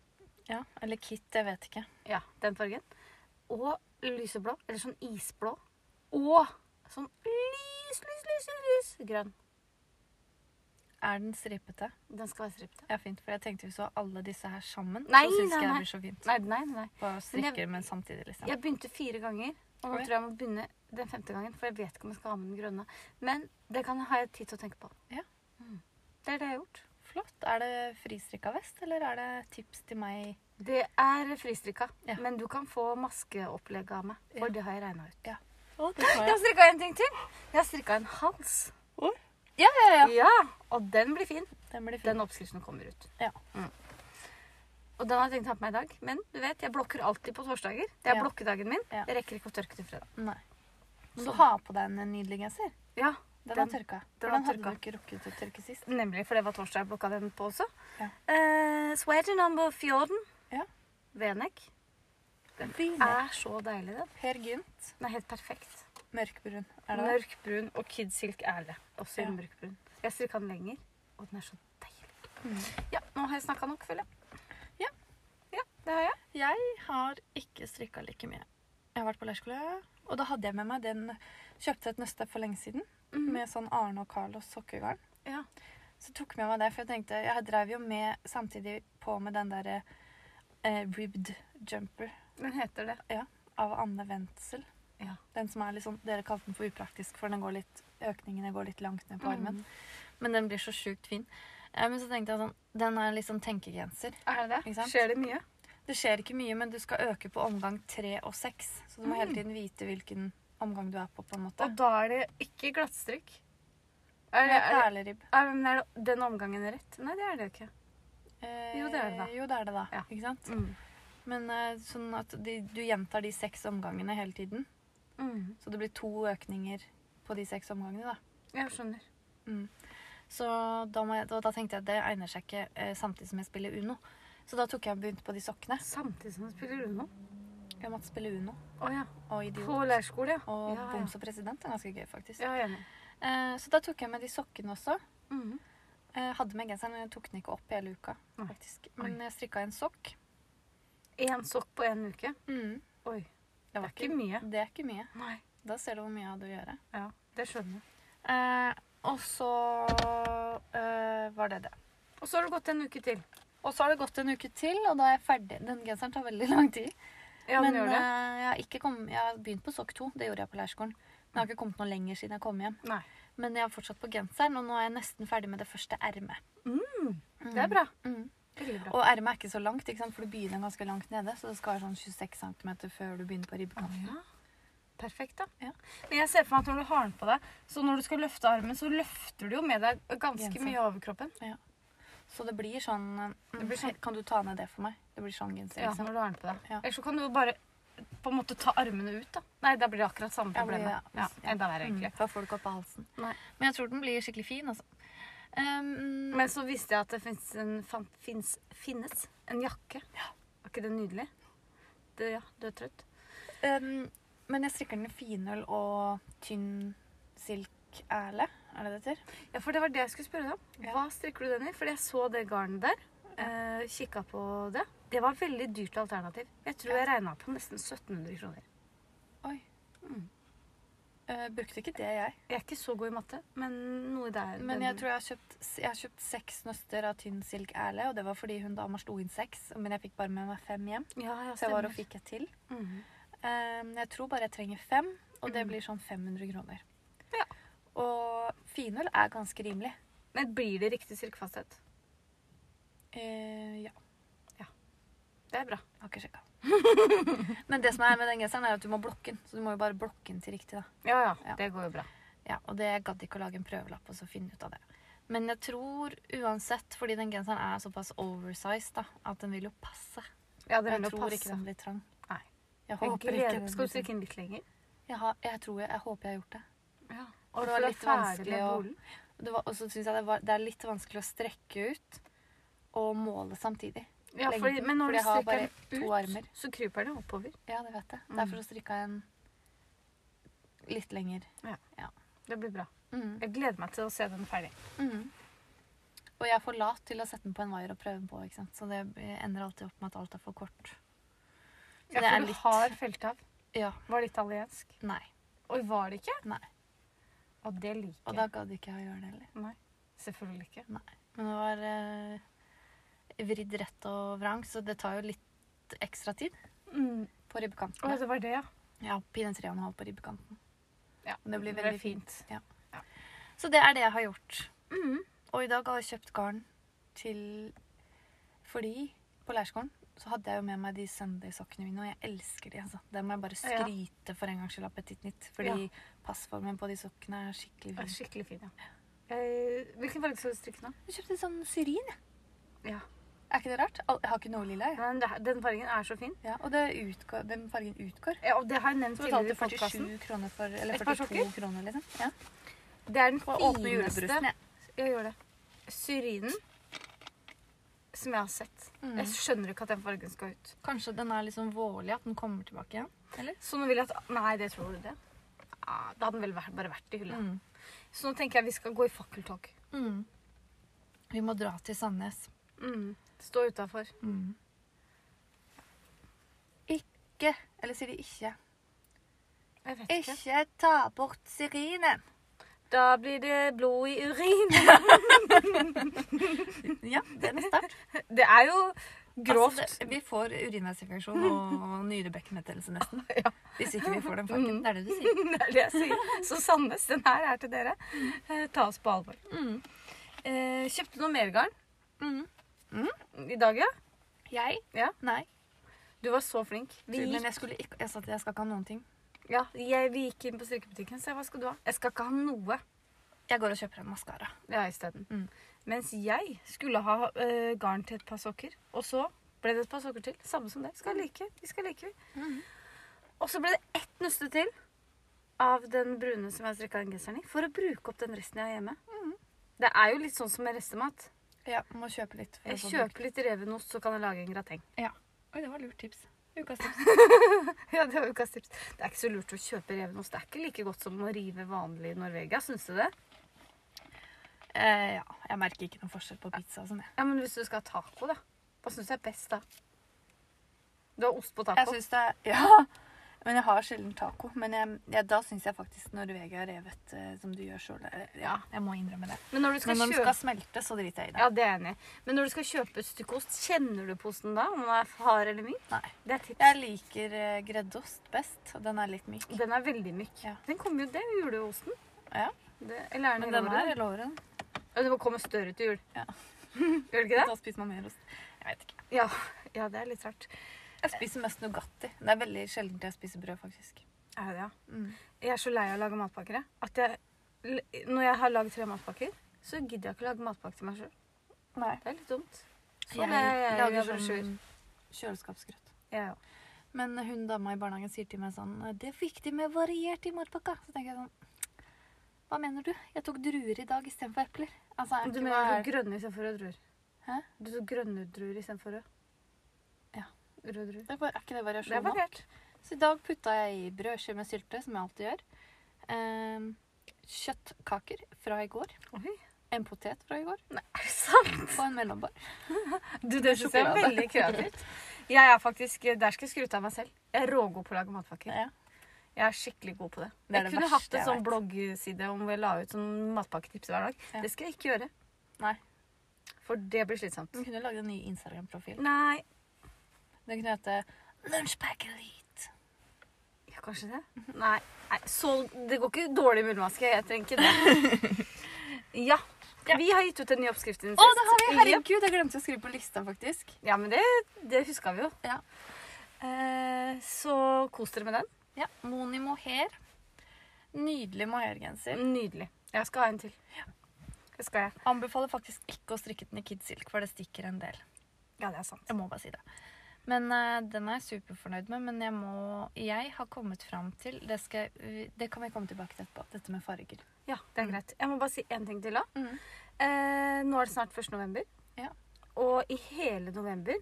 S1: Ja, eller kit, jeg vet ikke.
S2: Ja, den fargen. Og lyseblå. Eller sånn isblå. Og sånn lys, lys, lys, lys grønn.
S1: Er den stripete?
S2: Den skal være stripete.
S1: Ja, fint, for jeg tenkte vi så alle disse her sammen.
S2: Nei,
S1: så synes
S2: nei,
S1: ikke jeg
S2: nei.
S1: det blir så fint.
S2: Nei, nei, nei.
S1: Bare
S2: Men
S1: strikker,
S2: jeg-
S1: men samtidig, liksom.
S2: Jeg begynte fire ganger, og nå
S1: Oi.
S2: tror jeg jeg må begynne den femte gangen. For jeg vet ikke om jeg skal ha med den grønne. Men det kan ha jeg tid til å tenke på.
S1: Ja.
S2: Mm. Det er det jeg har gjort.
S1: Flott. Er det fristrikka vest, eller er det tips til meg?
S2: Det er fristrikka,
S1: Ja.
S2: men du kan få maskeopplegg av meg. For
S1: Ja.
S2: det har jeg regna ut.
S1: Å, det tar
S2: Jeg har strikka en ting til. Jeg har strikka en hals.
S1: Ja, ja, ja.
S2: Og den blir fin.
S1: Den blir fin.
S2: Den oppskriften kommer ut.
S1: Ja.
S2: Mm. Og den har jeg tenkt å ha på meg i dag. Men du vet, jeg blokker alltid på torsdager. Det er
S1: Ja.
S2: blokkedagen min.
S1: Ja.
S2: Jeg rekker ikke å tørke til fredag.
S1: Nei. Men du har på deg en nydelig genser.
S2: Ja,
S1: Den
S2: Sånn. Den-
S1: har tørka.
S2: den
S1: Den,
S2: har
S1: den hadde du
S2: tørka.
S1: ikke rukket å tørke sist.
S2: Nemlig, for det var torsdag jeg blokka den på også.
S1: Ja.
S2: Eh, sweater number 14.
S1: Ja.
S2: Venek. Den
S1: Venek.
S2: er så deilig, den.
S1: Per Gynt,
S2: Den er helt perfekt.
S1: mørkbrun. Er det det?
S2: Mørkbrun og Kid Silk Erle. Også
S1: Ja.
S2: i mørkbrun. Jeg strikka den lenger, og den er så deilig.
S1: Mm.
S2: Ja, nå har jeg snakka nok, føler jeg.
S1: Ja.
S2: Ja, det har jeg.
S1: Jeg har ikke strikka like mye. Jeg har vært på leirskole, og da hadde jeg med meg den Kjøpte et nøste for lenge siden
S2: Mhm.
S1: med sånn Arne og Carlos sokkegarn.
S2: Ja.
S1: Så tok jeg med meg det, for jeg tenkte Jeg drev jo med samtidig på med den derre eh, ribbed jumper
S2: Den heter det.
S1: av Anne Wendsel.
S2: Ja.
S1: Den som er litt sånn Dere kalte den for upraktisk, for den går litt, økningene går litt langt ned på armen.
S2: Mm.
S1: Men den blir så sjukt fin. Eh, men så tenkte jeg sånn Den er litt sånn tenkegenser.
S2: Er det
S1: Ikke
S2: det?
S1: sant?
S2: Skjer det mye?
S1: Det skjer ikke mye, men du skal øke på omgang tre og seks. Så du må
S2: Mm.
S1: hele tiden vite hvilken omgang du er på, på en måte.
S2: Og da er det ikke glattstrikk. Er
S1: Det er
S2: det, er, det-
S1: perleribb.
S2: er, men er det den omgangen rett? Nei, det er det ikke.
S1: Eh,
S2: Jo, det er det da.
S1: Jo, det er det da.
S2: Ja.
S1: Ikke sant? Men eh, sånn at de, du gjentar de seks omgangene hele tiden.
S2: Mm.
S1: Så det blir to økninger på de seks omgangene, da.
S2: Jeg skjønner.
S1: Så da, må jeg, og da tenkte jeg at det egner seg ikke eh, samtidig som jeg spiller Uno. Så da tok jeg og begynte på de sokkene.
S2: Samtidig som du spiller Uno?
S1: Jeg måtte spille Uno
S2: Å ja.
S1: og
S2: På
S1: Idiot.
S2: leirskole, ja.
S1: Og
S2: ja,
S1: Boms og president er ganske gøy, faktisk.
S2: Ja, jeg er enig.
S1: Eh, så da tok jeg med de sokkene også. Mm.
S2: Mhm.
S1: Jeg Eh, hadde med genseren, men jeg tok den ikke opp hele uka.
S2: Nei.
S1: faktisk. Men jeg strikka en sokk. Mm.
S2: En sokk på én uke? Oi.
S1: Det
S2: Det
S1: var
S2: er ikke mye.
S1: Det er ikke mye.
S2: Nei.
S1: Da ser du hvor mye jeg hadde å gjøre.
S2: Ja, det skjønner jeg.
S1: Eh, og så eh, var det det.
S2: Og så har du gått en uke til.
S1: Og så har det gått en uke til, og da er jeg ferdig. Den genseren tar veldig lang tid.
S2: Ja,
S1: men
S2: den gjør det.
S1: eh, jeg, har ikke kommet, jeg har begynt på sokk 2, det gjorde jeg på leirskolen. Men jeg har ikke kommet noe lenger siden jeg kom hjem.
S2: Nei.
S1: Men jeg har fortsatt på genseren, og nå er jeg nesten ferdig med det første ermet. Mm,
S2: Det er bra.
S1: Mm.
S2: Veldig bra.
S1: Og ermet er ikke så langt, ikke sant? for du begynner ganske langt nede. Så det skal være sånn 26 cm før du begynner på ribbekanten.
S2: Ja. Perfekt, da.
S1: Ja.
S2: Men jeg ser for meg at når du har den på deg, så når du skal løfte armen, så løfter du jo med deg ganske
S1: Genser.
S2: mye over kroppen.
S1: Så det blir sånn, eh,
S2: Det blir sånn-
S1: Kan du ta ned det for meg? Det blir sånn genser.
S2: Ja,
S1: ikke sant?
S2: når du har den på deg.
S1: Ja.
S2: Ellers så kan du jo bare på en måte ta armene ut, da. Nei, da blir det akkurat samme
S1: Ja, blir det,
S2: problemet.
S1: ja.
S2: Ja, enda verre, egentlig.
S1: Mm, for folk opp av halsen.
S2: Nei.
S1: Men jeg tror den blir skikkelig fin, altså. Um,
S2: Men så visste jeg at det finnes en, fan, finnes, finnes en jakke. Var ikke det nydelig? Det, ja, du er trøtt.
S1: Ehm, men jeg strikker den i finøl og tynn silk-erle. Er det det heter?
S2: Ja, for det var det jeg skulle spørre deg om.
S1: Ja.
S2: Hva strikker du den i? Fordi jeg så det garnet der. Eh, Kikka på det. Det var veldig dyrt alternativ. Jeg tror jeg regna på nesten 1700 kroner.
S1: Oi.
S2: Mm.
S1: Eh, brukte ikke det, jeg.
S2: Jeg er ikke så god i matte, men noe der.
S1: Men
S2: den-
S1: jeg tror jeg har kjøpt, jeg har kjøpt seks nøster av tynn silk-erle. Og det var fordi hun dama slo inn seks, men jeg fikk bare med meg fem hjem.
S2: ja, ja,
S1: Så jeg var og
S2: stemmer.
S1: fikk et til.
S2: Mhm.
S1: Ehm, jeg tror bare jeg trenger fem, og det
S2: Mm.
S1: blir sånn 500 kroner.
S2: Ja.
S1: Og finøl er ganske rimelig.
S2: Men blir det riktig silkefasthet?
S1: Eh, ja.
S2: Det er bra.
S1: Jeg Har ikke sjekka.
S2: *laughs*
S1: men det som er med den genseren, er at du må blokke den. Så du må jo bare blokke den til riktig, da.
S2: Ja, ja,
S1: Ja.
S2: Det går jo bra.
S1: Ja, og det jeg gadd ikke å lage en prøvelapp og så finne ut av det. Men jeg tror uansett, fordi den genseren er såpass oversized, da, at den vil jo passe.
S2: Ja,
S1: Og
S2: det
S1: jeg
S2: vil jo
S1: tror ikke
S2: passe.
S1: den blir trang.
S2: Nei.
S1: Jeg
S2: Jeg
S1: håper ikke
S2: gleder-
S1: den
S2: Skal
S1: blir sånn.
S2: du
S1: trang.
S2: strikke den litt lenger?
S1: Jeg, har, jeg tror jeg, jeg håper jeg har gjort det.
S2: Ja.
S1: Og det var
S2: for du er
S1: litt
S2: ferdig
S1: vanskelig
S2: med
S1: å-
S2: bolen.
S1: det var, og så syns jeg det, var, det er litt vanskelig å strekke ut og måle samtidig.
S2: Ja,
S1: lengden,
S2: fordi, men når
S1: fordi
S2: du
S1: jeg har
S2: strekker
S1: bare
S2: den ut,
S1: to armer.
S2: så kryper den oppover.
S1: Ja, det vet jeg.
S2: Mm.
S1: Derfor strikka jeg en litt lenger.
S2: Det blir bra.
S1: Mm.
S2: Jeg gleder meg til å se den ferdig.
S1: Mm. Og jeg er for lat til å sette den på en wire og prøve den på, ikke sant? så det ender alltid opp med at alt er for kort. Så det
S2: Ja, for
S1: er
S2: du
S1: litt-
S2: har felthav.
S1: Ja.
S2: Var det italiensk?
S1: Nei.
S2: Oi, var det ikke?
S1: Nei.
S2: Og det liker
S1: Og da gadd ikke jeg å gjøre det heller.
S2: jeg. Nei, selvfølgelig ikke.
S1: Men det var eh, vridd rett og vrang, så det tar jo litt ekstra tid
S2: Mm.
S1: på
S2: Å,
S1: ribbekantene.
S2: det var det, ja.
S1: Ja, pinne tre og en halv på ribbekanten.
S2: ja.
S1: Men det blir
S2: er
S1: veldig
S2: fint.
S1: Så det er det jeg har gjort.
S2: Mhm.
S1: Og i dag har jeg kjøpt garn til Fordi på leirskolen så hadde jeg jo med meg de Sunday-sokkene mine, og jeg elsker de. altså. Det må jeg bare
S2: Ja.
S1: skryte for en gangs skyld av Petit Nytt. Fordi passformen på de sokkene er skikkelig
S2: Ja,
S1: fin.
S2: Skikkelig fin, ja. Eh, hvilken farge skal du strikke nå?
S1: Jeg kjøpte sånn syrin, jeg.
S2: Ja.
S1: Er ikke det rart? Al- Jeg har ikke noe lilla, jeg.
S2: Men det- Den fargen er så fin.
S1: Ja, og det utgår, den fargen utgår.
S2: Ja, og det har jeg nevnt
S1: Så
S2: tidligere
S1: betalte
S2: i podkasten.
S1: 47 kroner for Eller
S2: Et par
S1: 42 kroner, liksom. Ja.
S2: Det er den
S1: Og åpne
S2: fineste
S1: julebrusen, jeg.
S2: Jeg gjør det. Syrinen som jeg har sett.
S1: Mm.
S2: Jeg skjønner ikke at den fargen skal ut.
S1: Kanskje den er liksom vårlig, at den kommer tilbake igjen? Eller?
S2: Så nå vil jeg at Nei, det tror du det? Ah, Da hadde den vel vært- bare vært i hylla.
S1: Mm.
S2: Så nå tenker jeg vi skal gå i fakkeltog.
S1: Mm. Vi må dra til Sandnes.
S2: Stå utafor.
S1: Mm. Ikke Eller sier de ikke?
S2: Jeg vet ikke.
S1: Ikke ta bort syrinen.
S2: Da blir det blod i urin.
S1: *laughs* Ja, det er en start.
S2: *laughs* Det er jo grovt.
S1: Altså, det, vi får urinveisinfeksjon og *laughs* nyrebekkenbetennelse *laughs* nesten. Hvis ikke vi får den fanken. Mm. Det er det du sier.
S2: *laughs* det er det jeg sier. Så Sandnes, den her er til dere. Eh, Ta oss på alvor.
S1: Mm.
S2: Eh, kjøpte du noe mer garn
S1: Mm.
S2: i dag, ja?
S1: Jeg?
S2: Ja.
S1: Nei.
S2: Du var så flink. Vi
S1: Men
S2: gikk,
S1: jeg, skulle ikke, jeg sa at jeg skal ikke ha noen ting.
S2: ja, jeg, vi gikk inn på strikkebutikken, så jeg, hva skal du ha? Jeg skal ikke ha noe.
S1: Jeg går og kjøper en maskara.
S2: Ja, isteden.
S1: Mm.
S2: Mens jeg skulle ha eh, garn til et par sokker, og så ble det et par sokker til. Samme som det. Skal
S1: Mm.
S2: like, vi skal like, vi.
S1: Mhm.
S2: Og så ble det ett nøste til av den brune som jeg strikka den genseren i, for å bruke opp den resten jeg har hjemme.
S1: Mm.
S2: Det er jo litt sånn som med restemat.
S1: Ja, sånn må kjøpe litt. for å
S2: Jeg
S1: få
S2: kjøper litt revenost, så kan jeg lage en grateng. *laughs*
S1: bruk. Ja. Oi, det var lurt tips. Ukas tips.
S2: ja, Det var ukas tips. Det er ikke så lurt å kjøpe revenost. Det er ikke like godt som å rive vanlig Norvegia, syns du det?
S1: Eh, ja, jeg merker ikke noen forskjell på pizza og sånn. jeg.
S2: Ja, Men hvis du skal ha taco, da. Hva syns du er best da? Du har ost på taco.
S1: Jeg syns det er *laughs* Ja! Men jeg har sjelden taco. Men jeg, jeg, da syns jeg faktisk Norvegia revet eh, som du gjør sjøl eh, Ja, jeg må innrømme det.
S2: Men når du skal
S1: Men når den
S2: kjøpe
S1: skal smelte, så driter jeg i det.
S2: Ja, det er jeg enig. i. Men når du skal kjøpe et stykke ost, kjenner du på osten da? Om den er hard eller myk?
S1: Nei.
S2: Det er tips.
S1: Jeg liker eh, greddost best. og Den er litt myk.
S2: Den er veldig myk.
S1: Ja.
S2: Den kommer jo det er jo juleosten.
S1: Ja.
S2: Det, eller er den
S1: Men den
S2: hele
S1: er
S2: året?
S1: i låren.
S2: Ja, det må komme større til jul.
S1: Ja.
S2: *laughs* Gjør det
S1: *laughs*
S2: ikke det?
S1: Da spiser man mer ost. Jeg vet ikke.
S2: Ja. ja, det er litt rart.
S1: Jeg spiser mest Nugatti. Det er veldig sjelden jeg spiser brød, faktisk.
S2: Er det, ja.
S1: Mm.
S2: Jeg er så lei av å lage matpakker. jeg. At jeg, l- når jeg har lagd tre matpakker, så gidder jeg ikke å lage matpakke til meg sjøl.
S1: Nei.
S2: Det er litt dumt. Så
S1: Jeg
S2: det er jeg
S1: lager
S2: gjør brosjyr.
S1: sånn kjøleskapsgrøt.
S2: Jeg òg.
S1: Men hun dama i barnehagen sier til meg sånn Det er viktig med variert i matpakka. Så tenker jeg sånn Hva mener du? Jeg tok druer i dag istedenfor epler. Altså, er
S2: Du
S1: ikke hva
S2: mener
S1: er-
S2: du grønne istedenfor røde druer?
S1: Hæ?
S2: Du tok grønne druer istedenfor rød?
S1: Ja.
S2: Røde druer.
S1: Det er bare- er ikke det
S2: Det er
S1: variasjon nå?
S2: variert.
S1: Så i dag putta jeg i brødskive med sylte, som jeg alltid gjør. Ehm, kjøttkaker fra i går.
S2: Oi.
S1: En potet fra i går.
S2: Er det sant?
S1: Og en mellombar.
S2: Du, det synes jeg er
S1: Sjokolade.
S2: veldig kreativt. Jeg er faktisk, eh, Der skal jeg skryte av meg selv. Jeg er rågod på å lage matpakker.
S1: *laughs* Ja.
S2: Jeg er skikkelig god på det.
S1: Det er
S2: jeg
S1: det
S2: kunne
S1: verste
S2: hatt en
S1: jeg
S2: sånn
S1: vet.
S2: bloggside om jeg la ut sånn matpakketips hver dag.
S1: Ja.
S2: Det skal jeg ikke gjøre.
S1: Nei.
S2: For det blir slitsomt.
S1: Hun kunne lage en ny Instagram-profil.
S2: Mm. Nei.
S1: Den kunne hete Lunchpack Elite.
S2: Ja, kanskje det? Nei. Nei. Så det går ikke dårlig med ullmaske. Jeg trenger ikke det. Ja.
S1: Ja.
S2: Vi har gitt ut en ny oppskrift siden
S1: Å, det har vi!
S2: Jep.
S1: Herregud, jeg glemte å skrive på lista, faktisk.
S2: Ja, men det, det huska vi jo.
S1: Ja.
S2: Eh, så kos dere med den.
S1: Ja, Moni mohair. Nydelig mohairgenser.
S2: Nydelig. Jeg skal ha en til. Det skal jeg.
S1: Anbefaler faktisk ikke å strikke den i kidsilk, for det stikker en del.
S2: Ja, det er sant.
S1: Jeg må bare si det. Men eh, den er jeg superfornøyd med, men jeg må Jeg har kommet fram til Det, skal, jeg- det kan vi komme tilbake til etterpå. Dette med farger.
S2: Ja, det er
S1: Mm.
S2: greit. Jeg må bare si én ting til, da.
S1: Mm.
S2: Eh, nå er det snart 1. november.
S1: Ja.
S2: Og i hele november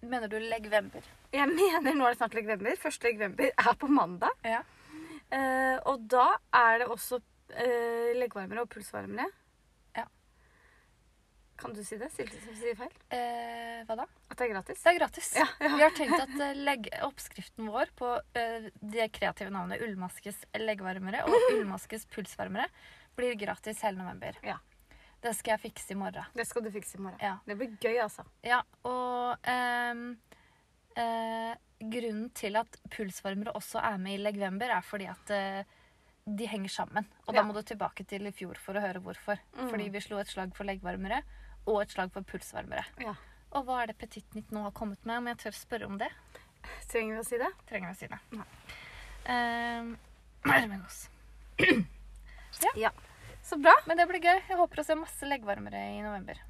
S1: Mener du legvember?
S2: Jeg mener nå er det snart legvember. 1. legvember er på mandag.
S1: Ja.
S2: Eh, og da er det også eh, leggvarmere og pulsvarmere.
S1: Ja.
S2: Kan du si det? Silte som sier feil.
S1: Eh, hva da?
S2: At det er gratis.
S1: Det er gratis.
S2: Ja, ja.
S1: Vi har tenkt at eh, legg, oppskriften vår på eh, det kreative navnet ullmaskes leggvarmere
S2: *laughs*
S1: og ullmaskes pulsvarmere blir gratis hele november.
S2: Ja.
S1: Det skal jeg fikse i morgen.
S2: Det skal du fikse i morgen.
S1: Ja.
S2: Det blir gøy, altså.
S1: Ja, og ehm, eh, grunnen til at pulsvarmere også er med i Legvember, er fordi at eh, de henger sammen. Og da
S2: Ja.
S1: må du tilbake til i fjor for å høre hvorfor.
S2: Mm.
S1: Fordi vi slo et slag for leggvarmere og et slag for pulsvarmere.
S2: Ja.
S1: Og hva er det Petit Nytt nå har kommet med? Om jeg tør spørre om det?
S2: Trenger vi å si det?
S1: Trenger jeg å si det.
S2: Nei.
S1: Ehm, *clears throat* nei, men oss.
S2: Ja. Så bra.
S1: Men det blir gøy. Jeg håper å se masse leggvarmere i november.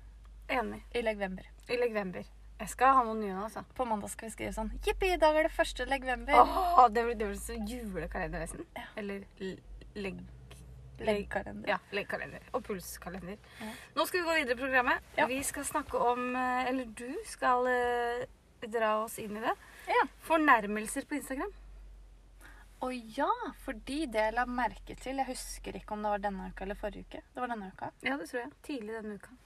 S2: Enig.
S1: I Legvember.
S2: I leggvember. Jeg skal ha noen nye nå, altså.
S1: På mandag skal vi skrive sånn Jippi, i dag er det første Legvember.
S2: Åh, det blir, det blir så julekalender nesten.
S1: Ja.
S2: Eller l- legg...
S1: Leggkalender.
S2: Ja, leggkalender. Og pulskalender.
S1: Ja.
S2: Nå skal vi gå videre i programmet.
S1: Ja.
S2: Vi skal snakke om eh, Eller du skal eh, dra oss inn i det.
S1: Ja.
S2: Fornærmelser på Instagram.
S1: Å ja, fordi det jeg la merke til Jeg husker ikke om det var denne uka eller forrige uke. Det var denne uka.
S2: Ja, det tror jeg. Tidlig denne uka.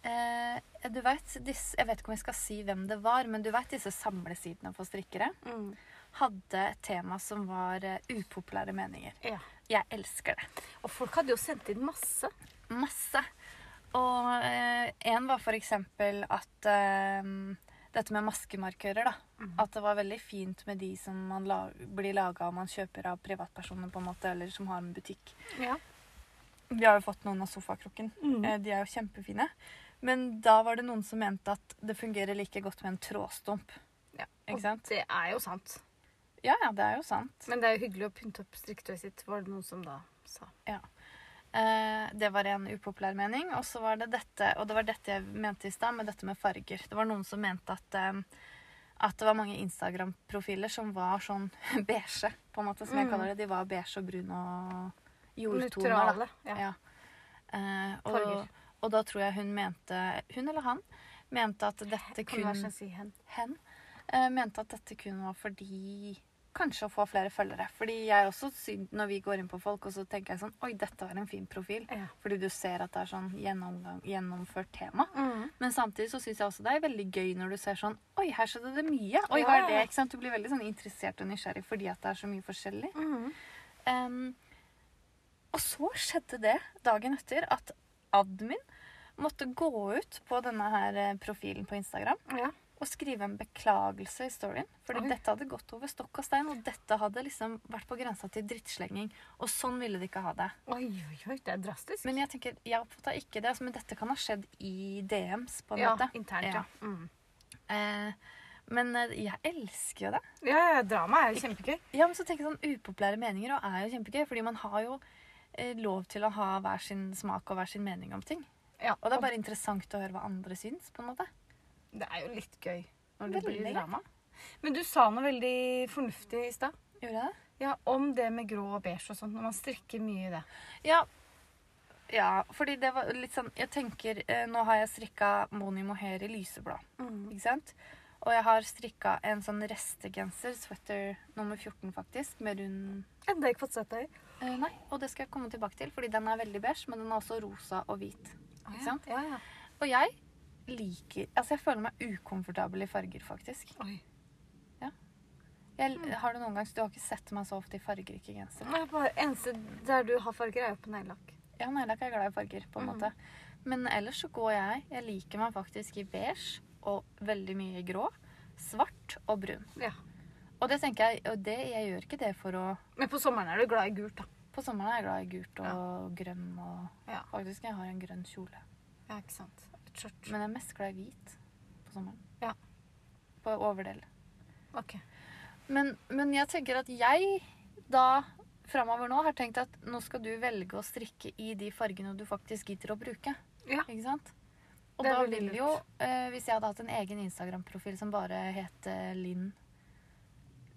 S1: Eh, du vet, disse, Jeg vet ikke om jeg skal si hvem det var, men du vet disse samlesidene for strikkere? Hadde et tema som var eh, upopulære meninger.
S2: Ja.
S1: Jeg elsker det.
S2: Og folk hadde jo sendt inn masse.
S1: Masse. Og eh, en var for eksempel at eh, dette med maskemarkører, da. At det var veldig fint med de som man la, blir laga og man kjøper av privatpersoner, på en måte, eller som har en butikk.
S2: Ja.
S1: Vi har jo fått noen av sofakrokken.
S2: Mm.
S1: Eh, De er jo kjempefine. Men da var det noen som mente at det fungerer like godt med en trådstump.
S2: Ja.
S1: Ikke sant?
S2: Det er jo sant.
S1: Ja, ja, det er jo sant.
S2: Men det er jo hyggelig å pynte opp strikketøyet sitt, var det noen som da sa.
S1: Eh, det var en upopulær mening. Og så var det dette, og det var dette jeg mente i stad, med dette med farger. Det var noen som mente at, eh, at det var mange Instagram-profiler som var sånn *laughs* beige, på en måte, som
S2: Mm.
S1: jeg kaller det. De var beige og brune og jordtoner. da.
S2: Nøytrale. Ja.
S1: Ja. Eh,
S2: Farger.
S1: og, og da tror jeg hun mente Hun eller han mente at dette
S2: Kan du
S1: kun
S2: være så snill å si hen?
S1: Hen eh, mente at dette kun var fordi kanskje å få flere følgere. Fordi jeg også, sy- når vi går inn på folk, og så tenker jeg sånn Oi, dette var en fin profil.
S2: Ja.
S1: Fordi du ser at det er sånn gjennomgang, gjennomført tema.
S2: Mm.
S1: Men samtidig så syns jeg også det er veldig gøy når du ser sånn Oi, her skjedde det mye. Oi,
S2: Ja.
S1: hva er det? Ikke sant? Du blir veldig sånn interessert og nysgjerrig fordi at det er så mye forskjellig.
S2: Mm.
S1: Em, og så skjedde det dagen etter at admin måtte gå ut på denne her eh, profilen på Instagram
S2: Ja.
S1: og skrive en beklagelse i storyen. Fordi
S2: Oi.
S1: dette hadde gått over stokk og stein, og dette hadde liksom vært på grensa til drittslenging. Og sånn ville de ikke ha det.
S2: Oi, oi, oi, det er drastisk.
S1: Men jeg tenker, jeg oppfatta ikke det. Altså, men dette kan ha skjedd i DMs, på en
S2: ja,
S1: måte.
S2: internt, ja. Mm.
S1: Eh, men eh, jeg elsker jo det.
S2: Ja, ja, drama er jo kjempegøy.
S1: Ja, men så tenker jeg sånn Upopulære meninger og er jo kjempegøy, fordi man har jo eh, lov til å ha hver sin smak og hver sin mening om ting.
S2: Ja,
S1: Og det er bare interessant å høre hva andre syns, på en måte.
S2: det er jo litt gøy når det
S1: Veldig
S2: blir
S1: gøy.
S2: drama. Men du sa noe veldig fornuftig i stad.
S1: Gjorde jeg det?
S2: Ja, om det med grå og beige og sånt, når man strikker mye i det.
S1: Ja. ja, fordi det var litt sånn Jeg tenker, eh, nå har jeg strikka Moni Mohair i lyseblå, ikke sant? Og jeg har strikka en sånn restegenser, sweater nummer 14 faktisk, med rund
S2: Enda ikke fått sett deg i.
S1: eh, Nei, og det skal jeg komme tilbake til, fordi den er veldig beige, men den er også rosa og hvit.
S2: Ikke
S1: ja.
S2: sant? Ja, ja.
S1: Og jeg liker Altså, jeg føler meg ukomfortabel i farger, faktisk.
S2: Oi.
S1: Jeg, har du noen gang Du har ikke sett meg så ofte i fargerike gensere.
S2: Nei, bare eneste der du har farger, er jo på neglelakk.
S1: Ja, neglelakk er glad i farger, på en
S2: Mhm.
S1: måte. Men ellers så går jeg Jeg liker meg faktisk i beige og veldig mye i grå. Svart og brun.
S2: Ja.
S1: Og det tenker jeg Og det, jeg gjør ikke det for å
S2: Men på sommeren er du glad i gult, da.
S1: På sommeren er jeg glad i gult og grønn og
S2: Ja.
S1: Faktisk, jeg har en grønn kjole.
S2: ja ikke sant. Et skjørt.
S1: Men jeg er mest glad i hvit på sommeren.
S2: Ja.
S1: På overdel.
S2: Ok.
S1: Men, men jeg tenker at jeg da framover nå har tenkt at nå skal du velge å strikke i de fargene du faktisk gidder å bruke.
S2: Ja.
S1: Ikke sant? Og
S2: Det er
S1: da
S2: veldig
S1: vil
S2: lurt.
S1: jo, eh, hvis jeg hadde hatt en egen Instagram-profil som bare het eh, Linn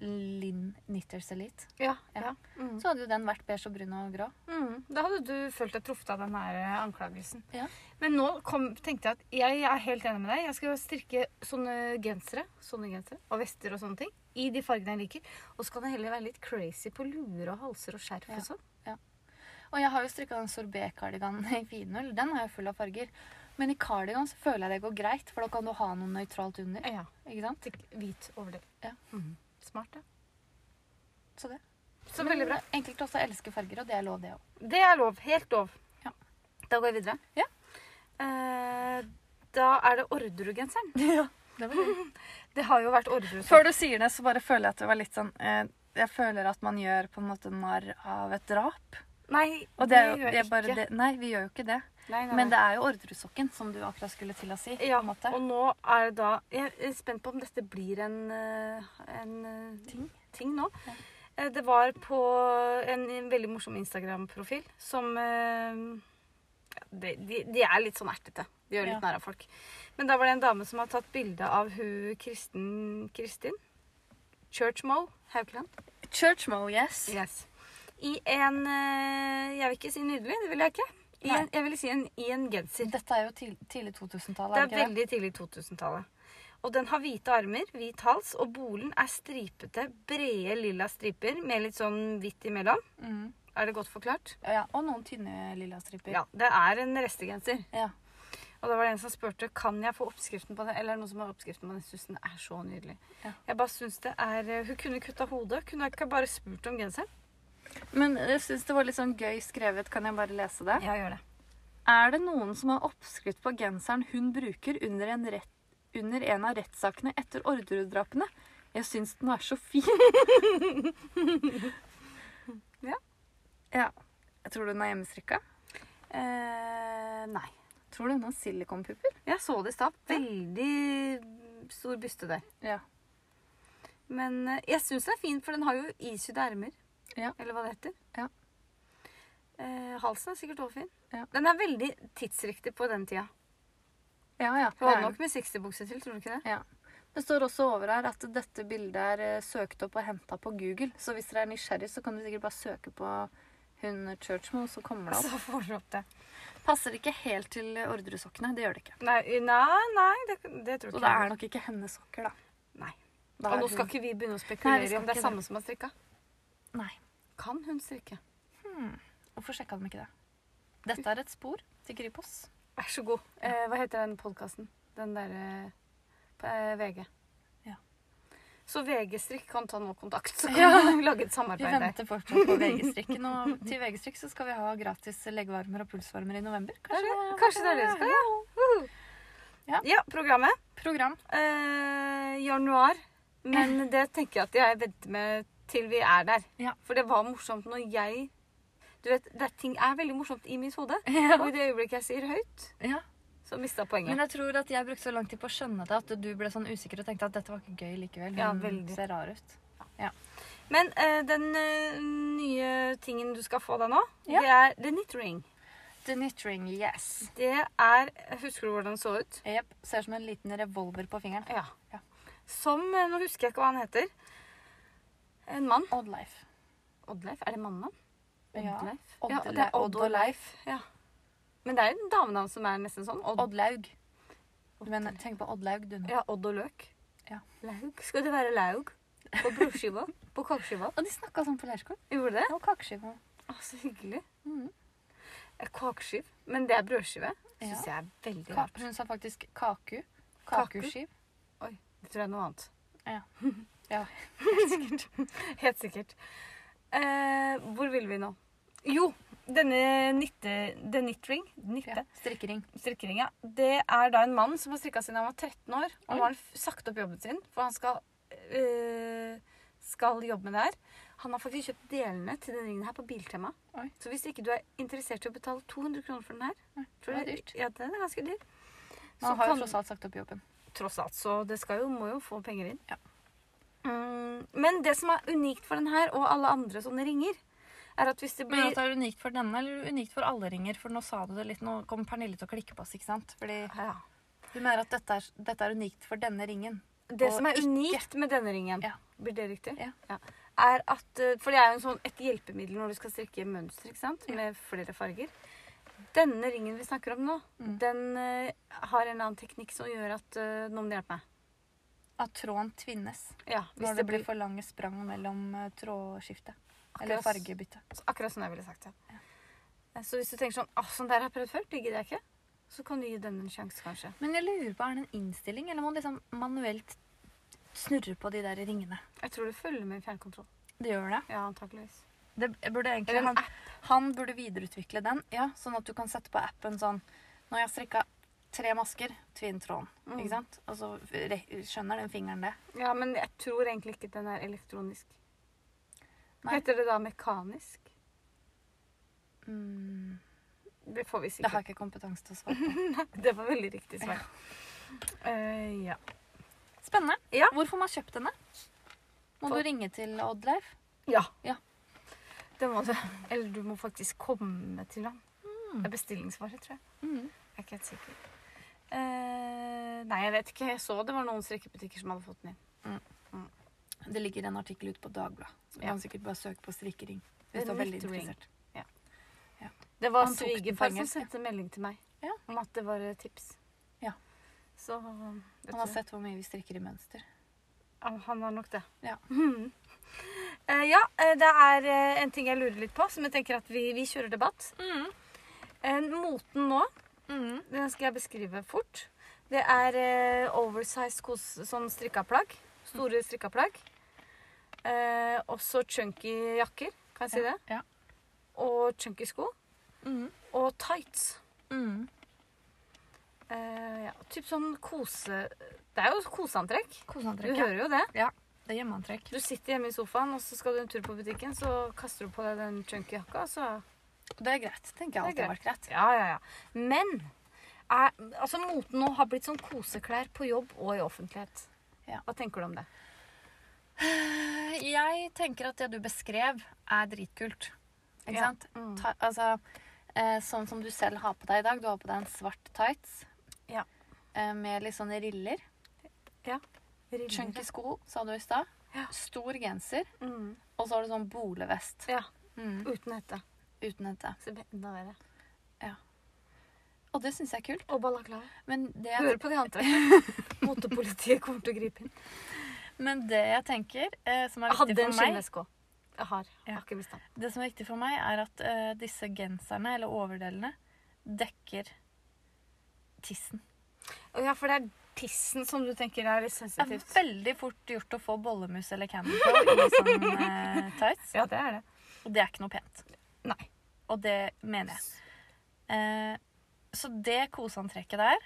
S1: Linn Knitters Elite,
S2: Ja.
S1: Ja.
S2: ja. Mm.
S1: så hadde jo den vært beige og brun og grå.
S2: Mm, da hadde du følt deg truffet av den her eh, anklagelsen.
S1: Ja.
S2: Men nå kom, tenkte jeg at jeg er helt enig med deg. Jeg skal strikke sånne gensere, sånne gensere og vester og sånne ting i de fargene jeg liker. Og så kan jeg heller være litt crazy på luer og halser og skjerf
S1: Ja.
S2: og sånn.
S1: Og jeg har jo strikka den sorbet-kardiganen i finull. Den er jo full av farger. Men i kardigan så føler jeg det går greit, for da kan du ha noe nøytralt under.
S2: Ja.
S1: Ikke sant?
S2: til Hvit overdel.
S1: Ja.
S2: Mhm. Smart, ja.
S1: Så det.
S2: Så veldig bra.
S1: Men Enkelte også elsker farger, og det er lov, det òg.
S2: Det er lov. Helt lov.
S1: Ja.
S2: Da går jeg videre.
S1: Ja.
S2: Eh, da er det Orderud-genseren.
S1: *laughs* Ja, det var gøy.
S2: *laughs* Det har jo vært Orderud.
S1: Før du sier det, så bare føler jeg at det var litt sånn eh, Jeg føler at man gjør på en måte narr av et drap.
S2: Nei,
S1: Og det, er jo-
S2: gjør
S1: jeg bare, det, nei, vi gjør jo ikke det.
S2: Nei, nei,
S1: Men
S2: nei.
S1: det er jo Orderudsokken, som du akkurat skulle til å si.
S2: Ja,
S1: på en måte.
S2: og nå er det da Jeg er spent på om dette blir en, eh, en eh,
S1: Ting?
S2: ting nå.
S1: Ja.
S2: Eh, Det var på en veldig morsom Instagram-profil som eh, ja, de, de, de er litt sånn ertete. De gjør litt
S1: Ja.
S2: narr av folk. Men da var det en dame som har tatt bilde av hun Kristin Kristin Churchmoe Haukeland.
S1: Churchmo, yes.
S2: Yes. I en eh, Jeg vil ikke si nydelig, det vil jeg ikke. I
S1: Nei.
S2: en, jeg vil si en, i en genser.
S1: Dette er jo til, tidlig 2000-tallet. er
S2: Det er
S1: det ikke det?
S2: veldig tidlig 2000-tallet. Og den har hvite armer, hvit hals, og bolen er stripete, brede lilla striper med litt sånn hvitt imellom.
S1: Mm.
S2: Er det godt forklart?
S1: Ja, og noen tynne lilla striper.
S2: Ja. Det er en restegenser.
S1: Ja.
S2: Og da var det en som spurte kan jeg få oppskriften på det. Eller er det noen som har oppskriften på den? Jeg synes den er så nydelig.
S1: Ja.
S2: Jeg bare synes det er eh, Hun kunne kutta hodet. Kunne jeg ikke bare spurt om genseren?
S1: Men jeg syns det var litt sånn gøy skrevet. Kan jeg bare lese det?
S2: Ja, gjør det.
S1: Er det noen som har oppskrift på genseren hun bruker under en, rett, under en av rettssakene etter Orderud-drapene? Jeg syns den er så fin. *laughs*
S2: Ja.
S1: ja. Jeg tror du den er hjemmestrikka.
S2: Eh, nei.
S1: Tror du hun har silikonpupper?
S2: Jeg så det i stad. Veldig stor byste der.
S1: Ja.
S2: Men eh, jeg syns den er fin, for den har jo isydde ermer.
S1: Ja.
S2: Eller hva det heter.
S1: Ja.
S2: Eh, halsen er sikkert også fin.
S1: Ja.
S2: Den er veldig tidsriktig på den tida.
S1: Ja, ja.
S2: Du
S1: Det,
S2: hadde
S1: er
S2: nok med 60-bukse til, tror du ikke det?
S1: den. ja. det står også over her at dette bildet er eh, søkt opp og henta på Google. Så hvis dere er nysgjerrig, så kan du sikkert bare søke på hun Churchmo, så kommer det opp.
S2: Så får du opp det.
S1: Passer ikke helt til Orderud-sokkene. Det gjør det ikke.
S2: eh, Nei, nei, nei det, det tror
S1: Så
S2: ikke
S1: det
S2: jeg.
S1: er nok ikke hennes sokker, da.
S2: Nei.
S1: Da
S2: Og
S1: er
S2: nå
S1: du-
S2: skal ikke vi begynne å
S1: Nei, vi
S2: spekulere i
S1: skal
S2: om det
S1: ikke
S2: er
S1: det.
S2: samme som har strikka.
S1: Nei. Hmm.
S2: Kan hun strikke?
S1: Hvorfor sjekka de ikke det? Dette er et spor til Kripos.
S2: Vær så god. Eh, hva heter den podkasten? Den derre på eh, VG.
S1: Ja.
S2: Så VG-strikk kan ta nå
S1: *laughs*
S2: kontakt, så kan
S1: Ja.
S2: vi lage et
S1: Vi
S2: samarbeid der.
S1: venter fortsatt på VG-strikken. Og til VG-strikk så skal vi ha gratis leggevarmer og pulsvarmer i november.
S2: Kanskje, kanskje det er det vi skal gjøre. Uhu.
S1: Ja.
S2: Ja, programmet.
S1: Program.
S2: Eh, januar. Men det tenker jeg at jeg venter med til vi er der.
S1: Ja.
S2: For det var morsomt når jeg Du vet, det, er- ting er veldig morsomt i mitt hode. Og i det øyeblikket jeg sier høyt,
S1: Ja.
S2: så mista jeg poenget.
S1: Men jeg tror at jeg brukte så lang tid på å skjønne det at du ble sånn usikker og tenkte at dette var ikke gøy likevel.
S2: Ja,
S1: Den
S2: veldig.
S1: ser rar ut.
S2: Men eh, den eh, nye tingen du skal få deg nå,
S1: Ja.
S2: det er The Knit Ring.
S1: The knitring, yes.
S2: Det er Husker du hvordan den så ut?
S1: Jep, Ser ut som en liten revolver på fingeren.
S2: Ja.
S1: Ja.
S2: Som eh, Nå husker jeg ikke hva han heter. En mann.
S1: Odd Life.
S2: Oddleif? Er det mannenavn?
S1: Ja.
S2: Oddleif?
S1: Odd-
S2: Ja, det er Odd
S1: Odd og
S2: og Leif. Ja. Men det er en damenavn som er nesten sånn. Odd,
S1: Odd Laug. Du mener, tenk på Odd Laug, du nå.
S2: Ja, Odd og Løk.
S1: Ja.
S2: Laug. Skal det være laug? På brorskiva? På kakeskiva?
S1: Og de snakka sånn på leirskolen.
S2: Gjorde det?
S1: Og kakeskiva.
S2: Å, så hyggelig.
S1: Mhm.
S2: Eh, Kakeskiv. Men det er brødskive.
S1: Ja.
S2: Syns jeg er veldig
S1: Ka
S2: rart.
S1: hun sa faktisk kaku.
S2: Kaku?
S1: Kakuskiv.
S2: Det tror jeg er noe annet. *laughs*
S1: Ja.
S2: Helt sikkert. Eh, hvor vil vi nå? Jo, denne nitte, the knit ring, nitte,
S1: ja. Strikkering.
S2: strikkeringa, det er da en mann som har strikka siden han var 13 år. Og
S1: Oi.
S2: nå har han f- sagt opp jobben sin, for han skal, eh, skal jobbe med det her. Han har faktisk kjøpt delene til denne ringen her på Biltema.
S1: Oi.
S2: Så hvis ikke du er interessert i å betale 200 kroner for den her tror
S1: det er
S2: jeg-
S1: dyrt.
S2: Ja, den er ganske dyr.
S1: Men
S2: Så
S1: han har jo
S2: kan-
S1: tross alt sagt opp jobben.
S2: tross alt, så det skal jo, må jo få penger inn.
S1: Ja.
S2: Mm, men det som er unikt for den her, og alle andre sånne ringer, er at hvis det
S1: Men
S2: blir
S1: at det er unikt for denne, eller unikt for alle ringer? For nå sa du det litt, nå kommer Pernille til å klikke på oss, ikke sant? Fordi
S2: ja.
S1: du mener at dette er, dette er unikt for denne ringen.
S2: Det
S1: Og
S2: som er
S1: ikke-
S2: unikt med denne ringen,
S1: Ja.
S2: blir det riktig?
S1: Ja.
S2: Er at, eh, for det er jo en sånn, et hjelpemiddel når du skal strikke mønster, ikke sant?
S1: Ja.
S2: Med flere farger. Denne ringen vi snakker om nå,
S1: Mm.
S2: den eh, har en eller annen teknikk som gjør at eh, Nå må du hjelpe meg.
S1: At tråden tvinnes
S2: Ja, hvis
S1: når det blir for lange sprang mellom eh, trådskiftet. Eller
S2: Akkurat.
S1: fargebytte.
S2: Så Akkurat sånn jeg ville sagt det. Så hvis du tenker sånn «Åh, sånn der har jeg prøvd før, det gidder jeg ikke. Så kan du gi den en sjanse, kanskje.
S1: Men jeg lurer på, er det en innstilling, eller må man liksom manuelt snurre på de der ringene?
S2: Jeg tror det følger med fjernkontroll.
S1: Det gjør det.
S2: Ja, antakeligvis.
S1: det burde egentlig,
S2: Eller en
S1: han, han burde videreutvikle den, ja, sånn at du kan sette på appen sånn Når jeg har strikka tre masker, tvinn tråden.
S2: Mm.
S1: Ikke sant? Og så re- skjønner den fingeren det.
S2: Ja, men jeg tror egentlig ikke den er elektronisk.
S1: Nei.
S2: Heter det da mekanisk?
S1: Mm,
S2: Det får vi
S1: det har
S2: sikkert.
S1: jeg ikke kompetanse til å svare på.
S2: *laughs* Det var veldig riktig svar. Eh, ja.
S1: *laughs* Spennende.
S2: Ja.
S1: Hvor får man kjøpt denne? Må
S2: På-
S1: du ringe til Oddleif?
S2: ja.
S1: Ja.
S2: Det Hmm. må du. Eller du må faktisk komme til ham. Det er bestillingsvare, tror jeg.
S1: Mm.
S2: Jeg er ikke helt sikker. Eh, nei, jeg vet ikke. Jeg så det var noen strikkebutikker som hadde fått den inn.
S1: Det ligger en artikkel ute på Dagbladet. Så
S2: Ja.
S1: kan du sikkert bare søke på strikkering. Hvis
S2: Det
S1: du
S2: er
S1: er veldig
S2: knitring.
S1: interessert.
S2: Det var
S1: Han tok den på
S2: svigerfar som
S1: engelsk,
S2: sendte melding til meg
S1: Ja.
S2: om at det var et tips.
S1: Ja.
S2: Så vet
S1: Han har
S2: du.
S1: sett hvor mye vi strikker i mønster.
S2: Ja, Ah, han har nok det.
S1: Ja.
S2: Mhm. *laughs* Eh, ja, eh, det er eh, en ting jeg lurer litt på, som jeg tenker at vi, vi kjører debatt.
S1: Mm.
S2: Eh, moten nå, den skal jeg beskrive fort. Det er eh, oversized kos, sånn strikka plagg. Store strikka plagg. Eh, også chunky jakker, kan jeg si det.
S1: Ja.
S2: Og chunky sko.
S1: Mhm.
S2: Og tights.
S1: Mhm.
S2: Eh, ja, typ sånn kose... Det er jo koseantrekk. Du
S1: Koseantrekk. ja.
S2: hører jo det.
S1: Det er hjemmeantrekk.
S2: Du sitter hjemme i sofaen, og så skal du en tur på butikken, så kaster du på deg den chunky jakka, og så
S1: Det er greit. tenker jeg
S2: Det er
S1: alltid har vært greit.
S2: Ja, ja, ja. Men er, altså, moten nå har blitt sånn koseklær på jobb og i offentlighet.
S1: Ja.
S2: Hva tenker du om det?
S1: Eh, Jeg tenker at det du beskrev, er dritkult. Ikke
S2: Ja.
S1: sant?
S2: Mm.
S1: Ta, altså, eh, sånn som du selv har på deg i dag. Du har på deg en svart tights
S2: Ja.
S1: eh, med litt sånne riller. Mhm. Chunky sko, sa du i stad.
S2: Ja.
S1: Stor genser.
S2: Mm.
S1: Og så har du sånn bolevest
S2: Ja.
S1: mm.
S2: Uten hette.
S1: uten hette.
S2: Så det blir enda verre.
S1: Og det syns jeg er kult.
S2: Og balaklava.
S1: Men det, *laughs*
S2: Hører på de andre. Motepolitiet kommer til å gripe inn.
S1: Men det jeg tenker, eh, som er
S2: Jeg
S1: viktig
S2: hadde en
S1: for meg
S2: skinnveske òg. Jeg har. Jeg
S1: Ja.
S2: har ikke blitt stand.
S1: Det som er viktig for meg, er at eh, disse genserne, eller overdelene, dekker tissen.
S2: Å Ja, for det er tissen som du tenker er litt
S1: Det er
S2: sensitivt.
S1: veldig fort gjort å få bollemus eller Candy Pro i
S2: *laughs*
S1: sånn eh, tights.
S2: Ja, det er det.
S1: Og det er ikke noe pent.
S2: Nei.
S1: Og det mener jeg. Eh, så det koseantrekket der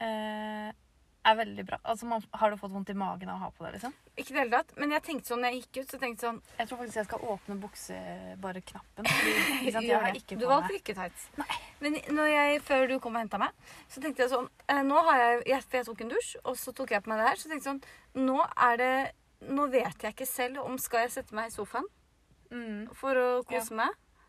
S1: eh, er veldig bra. Altså, man, Har du fått vondt i magen av å ha på det? liksom?
S2: Ikke i det hele tatt. Men jeg tenkte sånn når jeg gikk ut, så tenkte jeg sånn
S1: Jeg tror faktisk jeg skal åpne bukse, bare
S2: *laughs*
S1: knappen. Fordi, ikke sant, jeg har ikke
S2: Du
S1: på
S2: valgte
S1: meg.
S2: ikke tights. Men når jeg, før du kom og henta meg, så tenkte jeg sånn eh, Nå har jeg, jeg For jeg tok en dusj, og så tok jeg på meg det her. Så tenkte jeg sånn Nå er det Nå vet jeg ikke selv om skal jeg sette meg i sofaen
S1: Mm,
S2: for å kose meg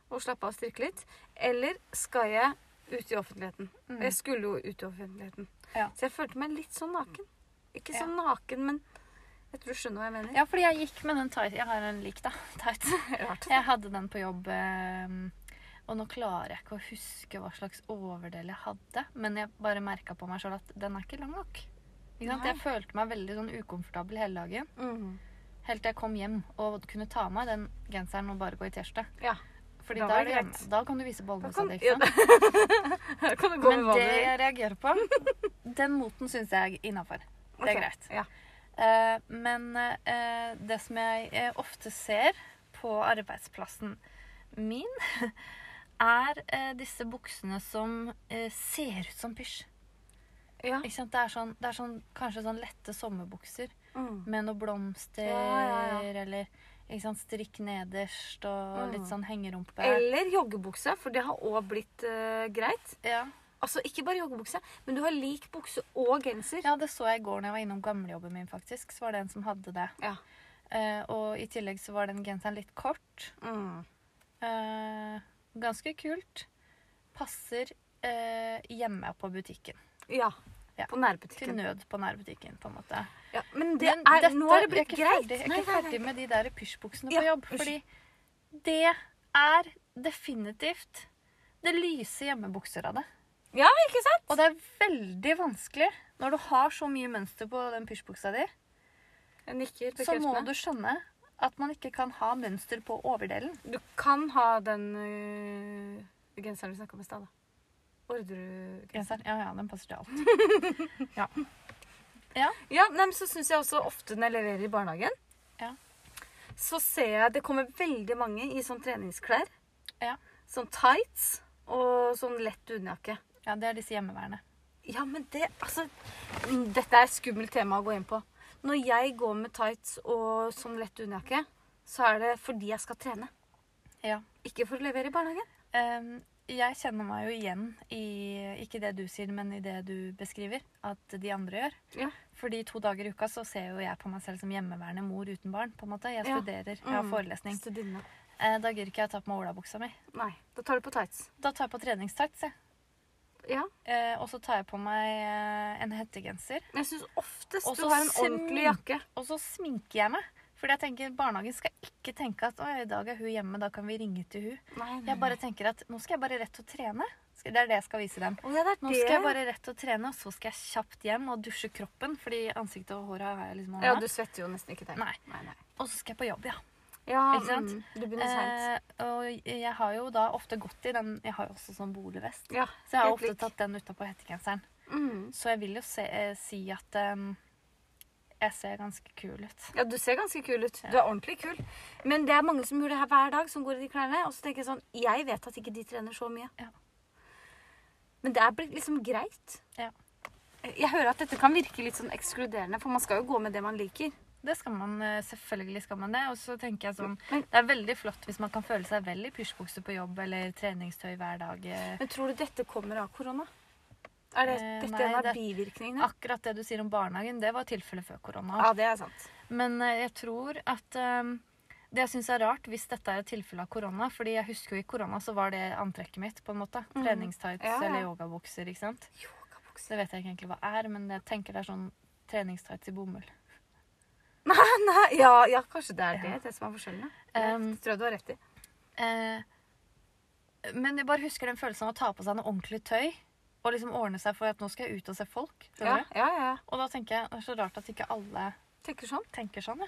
S2: og slappe av og strikke litt, eller skal jeg ut i offentligheten.
S1: mm.
S2: Jeg skulle jo ut i offentligheten.
S1: Ja.
S2: Så jeg følte meg litt sånn naken. Ikke
S1: Ja.
S2: sånn naken, men jeg tror du skjønner hva jeg mener.
S1: Ja, fordi jeg gikk med den tight. Jeg har en lik, da. Tight.
S2: Rart.
S1: Jeg hadde den på jobb. ehm, Og nå klarer jeg ikke å huske hva slags overdel jeg hadde. Men jeg bare merka på meg sjøl at den er ikke lang nok. Ikke sant?
S2: Nei.
S1: Jeg følte meg veldig sånn ukomfortabel hele dagen.
S2: Mhm.
S1: Helt til jeg kom hjem og kunne ta av meg den genseren og bare gå i T-skjorte.
S2: Ja.
S1: Fordi
S2: Da
S1: da,
S2: var
S1: er
S2: det
S1: det
S2: greit.
S1: hjemme. da kan du vise
S2: Da
S1: bollemusa
S2: kan,
S1: di.
S2: ja,
S1: ikke sant?
S2: *laughs* da kan du gå
S1: Men
S2: med hva du
S1: det
S2: vil.
S1: jeg reagerer på,
S2: *laughs*
S1: den moten syns jeg er innafor. Det er
S2: Ok,
S1: greit.
S2: Ja.
S1: Eh, men eh, det som jeg eh, ofte ser på arbeidsplassen min, *laughs* er eh, disse buksene som eh, ser ut som pysj.
S2: Ja.
S1: Ikke sant? Det er, sånn, det er sånn, kanskje sånn lette sommerbukser
S2: Mm.
S1: med noe blomster
S2: Ja, ja,
S1: eller ikke sant, strikk nederst og
S2: Mm.
S1: litt sånn hengerumpe.
S2: Eller joggebukse, for det har òg blitt eh, greit.
S1: ja.
S2: Altså ikke bare joggebukse, men du har lik bukse og genser.
S1: ja, det så jeg i går når jeg var innom gamlejobben min, faktisk. Så var det en som hadde det.
S2: Ja.
S1: Eh, og i tillegg så var den genseren litt kort.
S2: Mm.
S1: Eh, ganske kult. Passer eh, hjemme på butikken.
S2: ja.
S1: Ja.
S2: På
S1: Til
S2: nærbutikken.
S1: nød på nærbutikken, på en måte.
S2: Ja, men det
S1: Men
S2: er,
S1: dette-
S2: nå er det blitt
S1: jeg er ikke
S2: greit.
S1: Ferdig, jeg er
S2: Nei,
S1: ikke
S2: nei, nei.
S1: ferdig med de der pysjbuksene på
S2: Ja,
S1: jobb. Fordi det er definitivt Det lyse hjemmebukser av det.
S2: Ja, ikke sant?
S1: Og det er veldig vanskelig når du har så mye mønster på den pysjbuksa di,
S2: Jeg nikker
S1: så må
S2: bekreftende.
S1: du skjønne at man ikke kan ha mønster på overdelen.
S2: Du kan ha den øh, genseren vi snakka om i stad, da. Ordregenseren.
S1: Genseren. Ja, ja, den passer til alt.
S2: *laughs* Ja, nei, men så syns jeg også ofte når jeg leverer i barnehagen,
S1: Ja.
S2: så ser jeg det kommer veldig mange i sånn treningsklær.
S1: Ja.
S2: Sånn tights og sånn lett unnjakke.
S1: Ja, Det er disse hjemmeværende.
S2: Ja, men det Altså, mm, dette er et skummelt tema å gå inn på. Når jeg går med tights og sånn lett unnjakke, så er det fordi jeg skal trene.
S1: Ja.
S2: Ikke for å levere i barnehagen.
S1: Ehm, jeg kjenner meg jo igjen i ikke det du sier, men i det du beskriver at de andre gjør.
S2: Ja.
S1: Fordi to dager i uka så ser jo jeg på meg selv som hjemmeværende mor uten barn. på en måte. Jeg
S2: Ja.
S1: studerer, jeg har
S2: Mm.
S1: forelesning.
S2: Studinne.
S1: Eh, da gidder ikke jeg å ta på meg olabuksa mi.
S2: Nei, da tar du på tights.
S1: Da tar jeg på treningstights, jeg.
S2: Ja.
S1: Eh, og så tar jeg på meg eh, en hettegenser.
S2: Men Jeg syns oftest
S1: Og
S2: du
S1: så
S2: har en ordentlig
S1: smink.
S2: jakke.
S1: Og så sminker jeg meg. Fordi jeg tenker barnehagen skal ikke tenke at «Oi, i dag er hun hjemme, da kan vi ringe til hun.
S2: Nei,
S1: Jeg bare tenker at nå skal jeg bare rett og trene. Skal- Det er det jeg skal vise dem.
S2: Å, ja, det er
S1: Nå
S2: det.
S1: skal jeg bare rett og trene, og så skal jeg kjapt hjem og dusje kroppen. Fordi ansiktet og håret har jeg liksom
S2: Ja,
S1: ordnet.
S2: du svetter jo nesten ikke der.
S1: Nei.
S2: Nei, nei.
S1: Og så skal jeg på jobb, ja.
S2: Ja,
S1: Ikke sant?
S2: Mm, du begynner seint.
S1: Eh, og jeg har jo da ofte gått i den Jeg har jo også sånn boligvest.
S2: Ja,
S1: Så jeg har
S2: helt
S1: ofte
S2: lik.
S1: tatt den utapå hettegenseren.
S2: Mm.
S1: Så jeg vil jo se, eh, si at eh, jeg ser ganske kul ut.
S2: Ja, du ser ganske kul ut. Du er ordentlig kul. Men det er mange som gjør det her hver dag, som går i de klærne. Og så tenker jeg sånn Jeg vet at ikke de trener så mye.
S1: Ja.
S2: Men det er blitt liksom greit.
S1: Ja.
S2: Jeg hører at dette kan virke litt sånn ekskluderende, for man skal jo gå med det man liker.
S1: Det skal man, eh, Selvfølgelig skal man det. Og så tenker jeg sånn
S2: Men-
S1: Det er veldig flott hvis man kan føle seg vel i pysjbukse på jobb eller treningstøy hver dag. eh,
S2: Men tror du dette kommer av korona? Er det,
S1: Eh,
S2: dette
S1: nei,
S2: en av
S1: det-
S2: bivirkningene?
S1: Akkurat det du sier om barnehagen, det var tilfellet før korona.
S2: Ja, det er sant.
S1: Men eh, jeg tror at eh, Det jeg syns er rart, hvis dette er et tilfelle av korona Fordi jeg husker jo i korona så var det antrekket mitt, på en måte. Treningstights
S2: Ja, ja.
S1: eller yogabukser, ikke sant.
S2: Yogabukse.
S1: Det vet jeg ikke egentlig hva er, men jeg tenker det er sånn treningstights i bomull.
S2: Nei, *laughs* nei, ja, ja, kanskje det er det,
S1: Ja.
S2: det som er forskjellen. ja.
S1: Um,
S2: Jeg tror jeg du har rett i.
S1: Eh, men jeg bare husker den følelsen av å ta på seg noe ordentlig tøy. Og liksom ordne seg for at nå skal jeg ut og se folk.
S2: Ja,
S1: skjønner du?
S2: ja, ja.
S1: Og da tenker jeg det er så rart at ikke alle
S2: Tenker sånn.
S1: Tenker sånn, ja.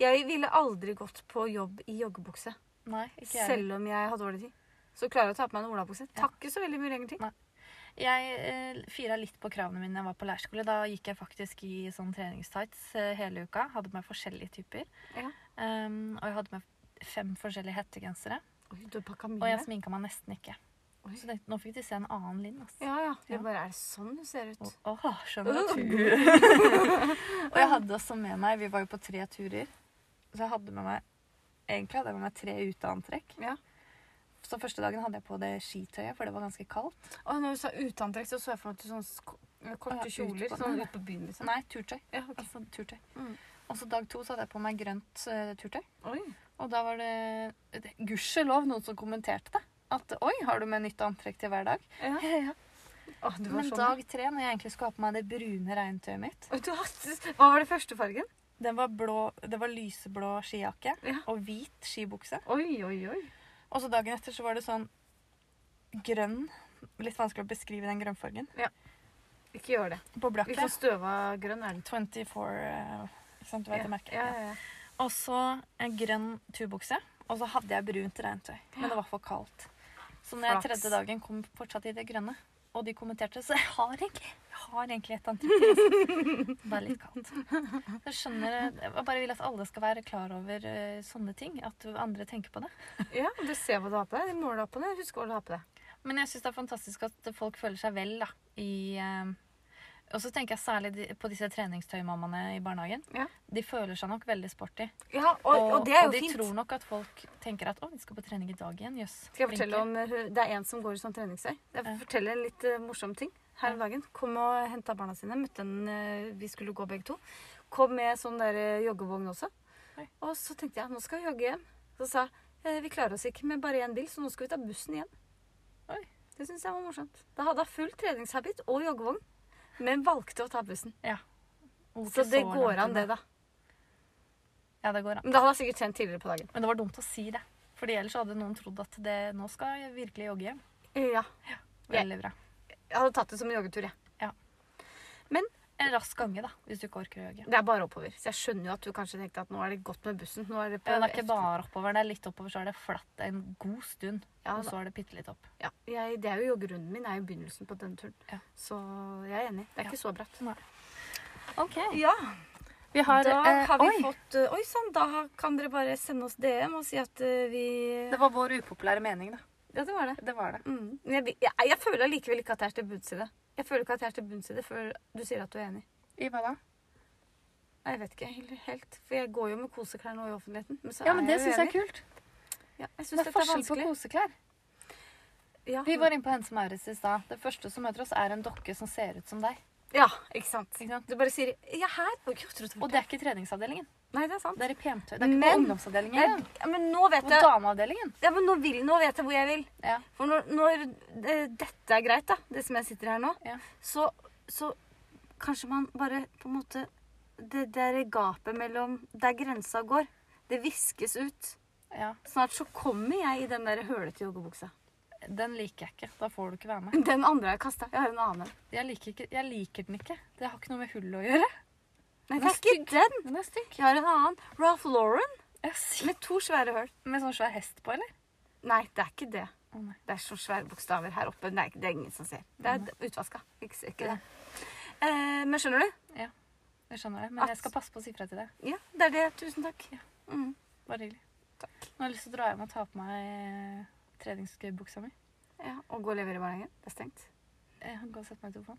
S2: Jeg ville aldri gått på jobb i joggebukse.
S1: Nei, ikke jeg.
S2: Selv om jeg har dårlig tid. Så klarer jeg å ta på meg en olabukse.
S1: Ja.
S2: Tar ikke så veldig mye lenger til.
S1: Jeg eh, fira litt på kravene mine da jeg var på leirskole. Da gikk jeg faktisk i sånn treningstights eh, hele uka. Hadde på meg forskjellige typer.
S2: Ja.
S1: Um, og jeg hadde med fem forskjellige hettegensere.
S2: Oi, du har pakka
S1: Og
S2: mye.
S1: jeg sminka meg nesten ikke.
S2: Oi.
S1: Så tenkte, nå fikk de se en annen Linn. ass.
S2: Ja, ja. Det
S1: Ja.
S2: bare er sånn du ser ut.
S1: Å, å, skjønner
S2: Uh.
S1: du. og jeg hadde også med meg Vi var jo på tre turer. Så jeg hadde med meg Egentlig hadde jeg med meg tre uteantrekk.
S2: Ja.
S1: Så første dagen hadde jeg på det skitøyet, for det var ganske kaldt.
S2: Og når du sa uteantrekk, så så jeg for meg til sånne sk- korte
S1: Ja,
S2: kjoler.
S1: ut på-
S2: Sånn ut på byen, liksom.
S1: Nei, turtøy.
S2: Ja, ok.
S1: Altså turtøy.
S2: Mm.
S1: Og så dag to så hadde jeg på meg grønt eh, turtøy.
S2: Oi.
S1: Og da var det, det gudskjelov noen som kommenterte det. At oi, har du med nytt antrekk til hver dag?
S2: Ja.
S1: *laughs* Ja, ja.
S2: Å, du var
S1: Men
S2: sånn.
S1: dag tre, når jeg egentlig skulle ha på meg det brune regntøyet mitt
S2: Oi, du hadde... Hva var det første fargen?
S1: Den var blå, Det var lyseblå skijakke
S2: Ja.
S1: og hvit skibukse.
S2: Oi, oi, oi.
S1: Og så dagen etter så var det sånn grønn Litt vanskelig å beskrive den grønnfargen.
S2: Ikke gjør det.
S1: På
S2: Litt
S1: blakke.
S2: sånn støva grønn er den.
S1: 24 eh, Ikke sant, du vet det merket.
S2: Ja, ja, ja.
S1: Og så en grønn turbukse. Og så hadde jeg brunt regntøy, men det var for kaldt. Så når jeg
S2: Flaks.
S1: tredje dagen kom fortsatt i det grønne, og de kommenterte, så jeg har egentlig, jeg har egentlig et antrekk. til, altså. Bare litt kaldt. Så Jeg skjønner, jeg bare vil at alle skal være klar over eh, sånne ting. At andre tenker på det.
S2: Ja, du ser hva du har på deg. Du måler opp på det. Husk hva du har på deg.
S1: Men jeg syns det er fantastisk at folk føler seg vel da, i eh, Og så tenker jeg særlig de- på disse treningstøymammaene i barnehagen.
S2: Ja.
S1: De føler seg nok veldig sporty.
S2: Ja, og, og, det er jo
S1: de
S2: fint.
S1: tror nok at folk tenker at å, vi skal på trening i dag igjen. Jøss.
S2: Skal jeg fortelle
S1: flinke».
S2: om eh, hun- Det er en som går i sånn treningstøy. Jeg
S1: Ja.
S2: vil fortelle en litt eh, morsom ting. Her om dagen kom og henta barna sine. Møtte en eh, Vi skulle gå begge to. Kom med sånn der eh, joggevogn også.
S1: Oi.
S2: Og så tenkte jeg nå skal vi jogge hjem. Så sa jeg «Eh, vi klarer oss ikke med bare én bil, så nå skal vi ta bussen hjem.
S1: Oi.
S2: Det syns jeg var morsomt. Da hadde hun full treningshabit og joggevogn, men valgte å ta bussen.
S1: Hvor
S2: Så
S1: ikke
S2: det
S1: langt
S2: går an,
S1: unna.
S2: det, da.
S1: Ja, det går an.
S2: Men da hadde hun sikkert trent tidligere på dagen.
S1: Men det var dumt å si det. Fordi ellers hadde noen trodd at det, nå skal jeg virkelig jogge hjem.
S2: Ja.
S1: Veldig bra.
S2: Jeg hadde tatt det som en joggetur, jeg.
S1: En rask gange, da, hvis du ikke orker å jogge.
S2: Det er bare oppover. Så jeg skjønner jo at du kanskje tenkte at nå er det godt med bussen. Nå er det på
S1: Ja, det er ikke
S2: efter-
S1: bare oppover. Det er litt oppover, så er det flatt en god stund.
S2: Ja,
S1: Og
S2: da.
S1: så er det bitte litt opp.
S2: ja. Jeg, det er jo joggerunden min er jo begynnelsen på denne turen.
S1: Ja.
S2: Så jeg er enig. Det er
S1: Ja.
S2: ikke så bratt.
S1: OK.
S2: Ja,
S1: Vi har,
S2: da
S1: eh,
S2: har vi
S1: Oi!
S2: fått eh, Oi sann, da har- kan dere bare sende oss DM og si at eh, vi
S1: Det var vår upopulære mening, da.
S2: Ja, det var det.
S1: Det var det.
S2: Mm. Men Jeg, jeg, jeg føler allikevel ikke at jeg er til bunns i det. Jeg føler ikke at jeg er til bunns i det før du sier at du er enig.
S1: I hva da?
S2: Nei, jeg vet ikke helt- helt. For jeg går jo med koseklær nå i offentligheten. Men så
S1: Ja, men
S2: er
S1: det
S2: jeg
S1: syns jeg er
S2: uenig.
S1: kult.
S2: Ja, jeg syns
S1: Det er
S2: dette er
S1: forskjell på
S2: vanskelig.
S1: koseklær.
S2: Ja.
S1: Vi var inne på Hense Maurits i stad. Det første som møter oss, er en dokke som ser ut som deg.
S2: ja, ikke sant.
S1: Ikke sant?
S2: Du bare sier 'jeg er her'. Og, jeg trodde det var
S1: Og det er ikke i treningsavdelingen.
S2: det. Nei, det er sant.
S1: Det er i PM-tøy. Det er ikke på
S2: Men-
S1: ungdomsavdelingen.
S2: Nei,
S1: engang.
S2: ja, men nå vet
S1: På
S2: jeg
S1: dameavdelingen.
S2: ja, men nå, vil, nå vet jeg hvor jeg vil.
S1: Ja.
S2: For når, når eh, dette er greit, da, det som jeg sitter her nå,
S1: Ja.
S2: så, så kanskje man bare på en måte Det der gapet mellom der grensa går, det viskes ut.
S1: ja.
S2: Snart så kommer jeg i den der hølete joggebuksa.
S1: Den liker jeg ikke. Da får du ikke være med.
S2: Den andre har jeg kasta. Jeg har en annen. en.
S1: Jeg liker, ikke, jeg liker den ikke. Det har ikke noe med hullet å gjøre.
S2: Nei,
S1: Den
S2: det
S1: er
S2: er ikke den.
S1: Den er stygg.
S2: Jeg har en annen. Ralph Lauren
S1: Jeg sy-
S2: med to svære høl.
S1: Med sånn svær hest på, eller?
S2: Nei, det er ikke det.
S1: Å, nei.
S2: Det er så svære bokstaver her oppe. Det er, det er ingen som ser. Det er utvaska. Ikke, ikke det. Eh, men skjønner du?
S1: Jeg skjønner det. Men
S2: At-
S1: jeg skal passe på å si fra til deg.
S2: Ja, det er det. Tusen takk.
S1: Ja.
S2: Mm.
S1: Bare hyggelig.
S2: Takk.
S1: Nå har jeg lyst til å dra hjem og ta på meg eh, treningsbuksa mi.
S2: Ja, og gå og levere i barnehagen. Det er stengt.
S1: Eh, Gå og sette meg i sofaen.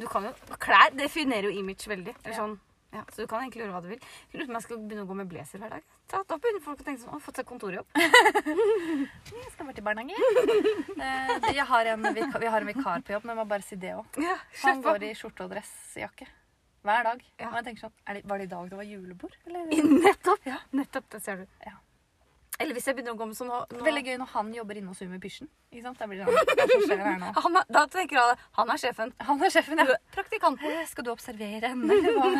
S2: Du kan jo, Klær definerer jo image veldig. Eller
S1: Ja.
S2: sånn, ja, så du kan egentlig gjøre hva du vil. Jeg Lurer på om jeg skal begynne å gå med blazer hver dag. Da, da begynner folk å tenke sånn Å, fått seg *laughs* kontorjobb.
S1: Jeg skal bare til barnehagen. *laughs* eh, det- jeg har en, vika- vi har en vikar på jobb, men jeg må bare si det òg.
S2: Ja,
S1: Han
S2: kjøp på.
S1: går i skjorte og dressjakke. Hver dag.
S2: Ja.
S1: Og jeg tenker sånn, er det, Var det i dag det var julebord?
S2: I-
S1: Eller?
S2: Nettopp. Nettopp, det ser du.
S1: Ja.
S2: Eller hvis jeg begynner å gå med sånn nå, nå
S1: Veldig gøy når han jobber inne hos Umi Pysjen. Ikke sant? Da blir det sånn, hva er det som skjer her
S2: *laughs*
S1: nå?
S2: han, er- Da tenker jeg at han er sjefen.
S1: Han er sjefen, ja.
S2: Praktikanten.
S1: Eh, Skal du observere henne, eller
S2: *laughs*
S1: hva?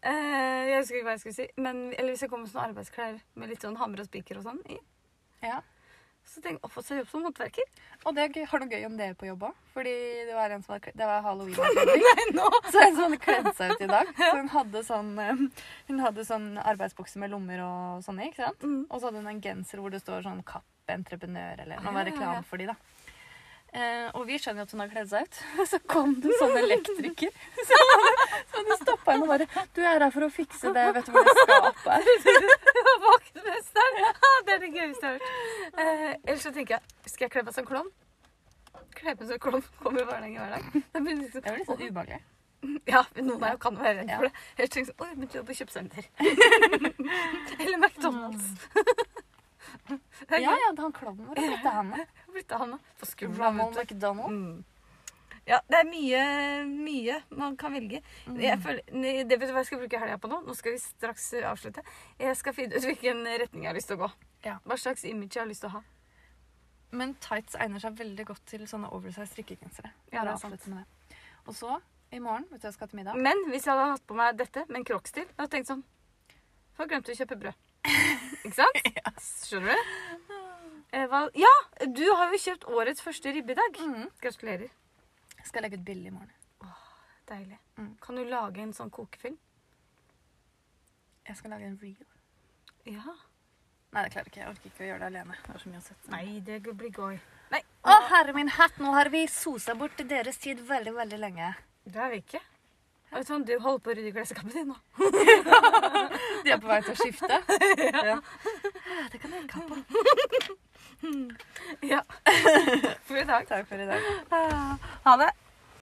S2: Eh, jeg husker ikke hva jeg skulle si. Men, eller hvis jeg kommer med sånne arbeidsklær med litt sånn hammer og spiker og sånn i.
S1: Ja.
S2: Så tenk, å få seg jobb som
S1: *laughs*
S2: håndverker.
S1: Og det er gøy. har du gøy om det på jobb òg? Fordi det var en som hadde, kle- det var halloween.
S2: *laughs* Nei, nå!
S1: Så en som hadde kledd seg ut i dag. Så hun hadde sånn, eh, hun hadde sånn arbeidsbokse med lommer og sånne, ikke sant?
S2: Mm. *laughs*
S1: Og så hadde hun en genser hvor det står sånn Kapp entreprenør, eller
S2: Ah,
S1: noe var
S2: ja, ja,
S1: reklame
S2: ja.
S1: for de, da. Eh, og vi skjønner jo at hun har kledd seg ut. *laughs* Så kom det en sånn elektriker. *laughs* Så hadde, så hadde stoppa henne og bare 'Du er her for å fikse det. Vet du hvor det skal opp her?'
S2: Vaktmesteren! *laughs* Ja, det er det gøyeste jeg har hørt. Eh, ellers så tenker jeg Skal jeg kle meg som klovn? Kle meg som klovn *laughs* kommer i hverdagen hver dag.
S1: *laughs*
S2: Da blir det liksom-
S1: Det var litt sånn ubehagelig.
S2: Ja, men noen av jo kan være redd
S1: Ja.
S2: for det. Ellers tenker jeg sånn Oi, jeg begynte å jobbe
S1: *laughs*
S2: på kjøpesenter. *laughs* Eller McDonald's. *laughs* Det er
S1: Ja, ja,
S2: gøy.
S1: han klovnen vår. Dette er han.
S2: Jeg har blitt av Hanna. På skolen.
S1: Ronald
S2: vet du.
S1: McDonald.
S2: Mm. Ja, det er mye, mye man kan velge. Jeg føler, nei, det vet du hva jeg skal bruke helga på nå? Nå skal vi straks eh, avslutte. Jeg skal finne ut hvilken retning jeg har lyst til å gå.
S1: Ja.
S2: Hva slags image jeg har lyst til å ha.
S1: Men tights egner seg veldig godt til sånne oversized strikkegensere.
S2: Ja, det er
S1: Bare avslutte med det. Og så, i morgen, vet du hva jeg skal til middag?
S2: Men hvis jeg hadde hatt på meg dette med en crocs-stil, hadde jeg tenkt sånn For jeg glemte å kjøpe brød. Ikke sant? Skjønner du? Eh, hva, ja, du har jo kjøpt årets første ribbe i dag.
S1: Mhm.
S2: Gratulerer.
S1: Skal legge ut bilde i morgen.
S2: Deilig.
S1: Mm.
S2: Kan du lage en sånn kokefilm?
S1: Jeg skal lage en reel.
S2: Ja.
S1: Nei, det klarer jeg ikke. Jeg orker ikke å gjøre det alene. Det er så mye å sette.
S2: Nei, det blir gøy. Nei,
S1: Å, herre min hatt, nå har vi sosa bort deres tid veldig, veldig lenge.
S2: det er vi ikke. Jeg Vet du, hva, du holder på å rydde klesskapet ditt nå.
S1: De er på vei til å skifte. *laughs* ja. Det kan jeg kappe.
S2: Ja. For i dag. *laughs*
S1: Takk for i dag.
S2: Ah, Ha det.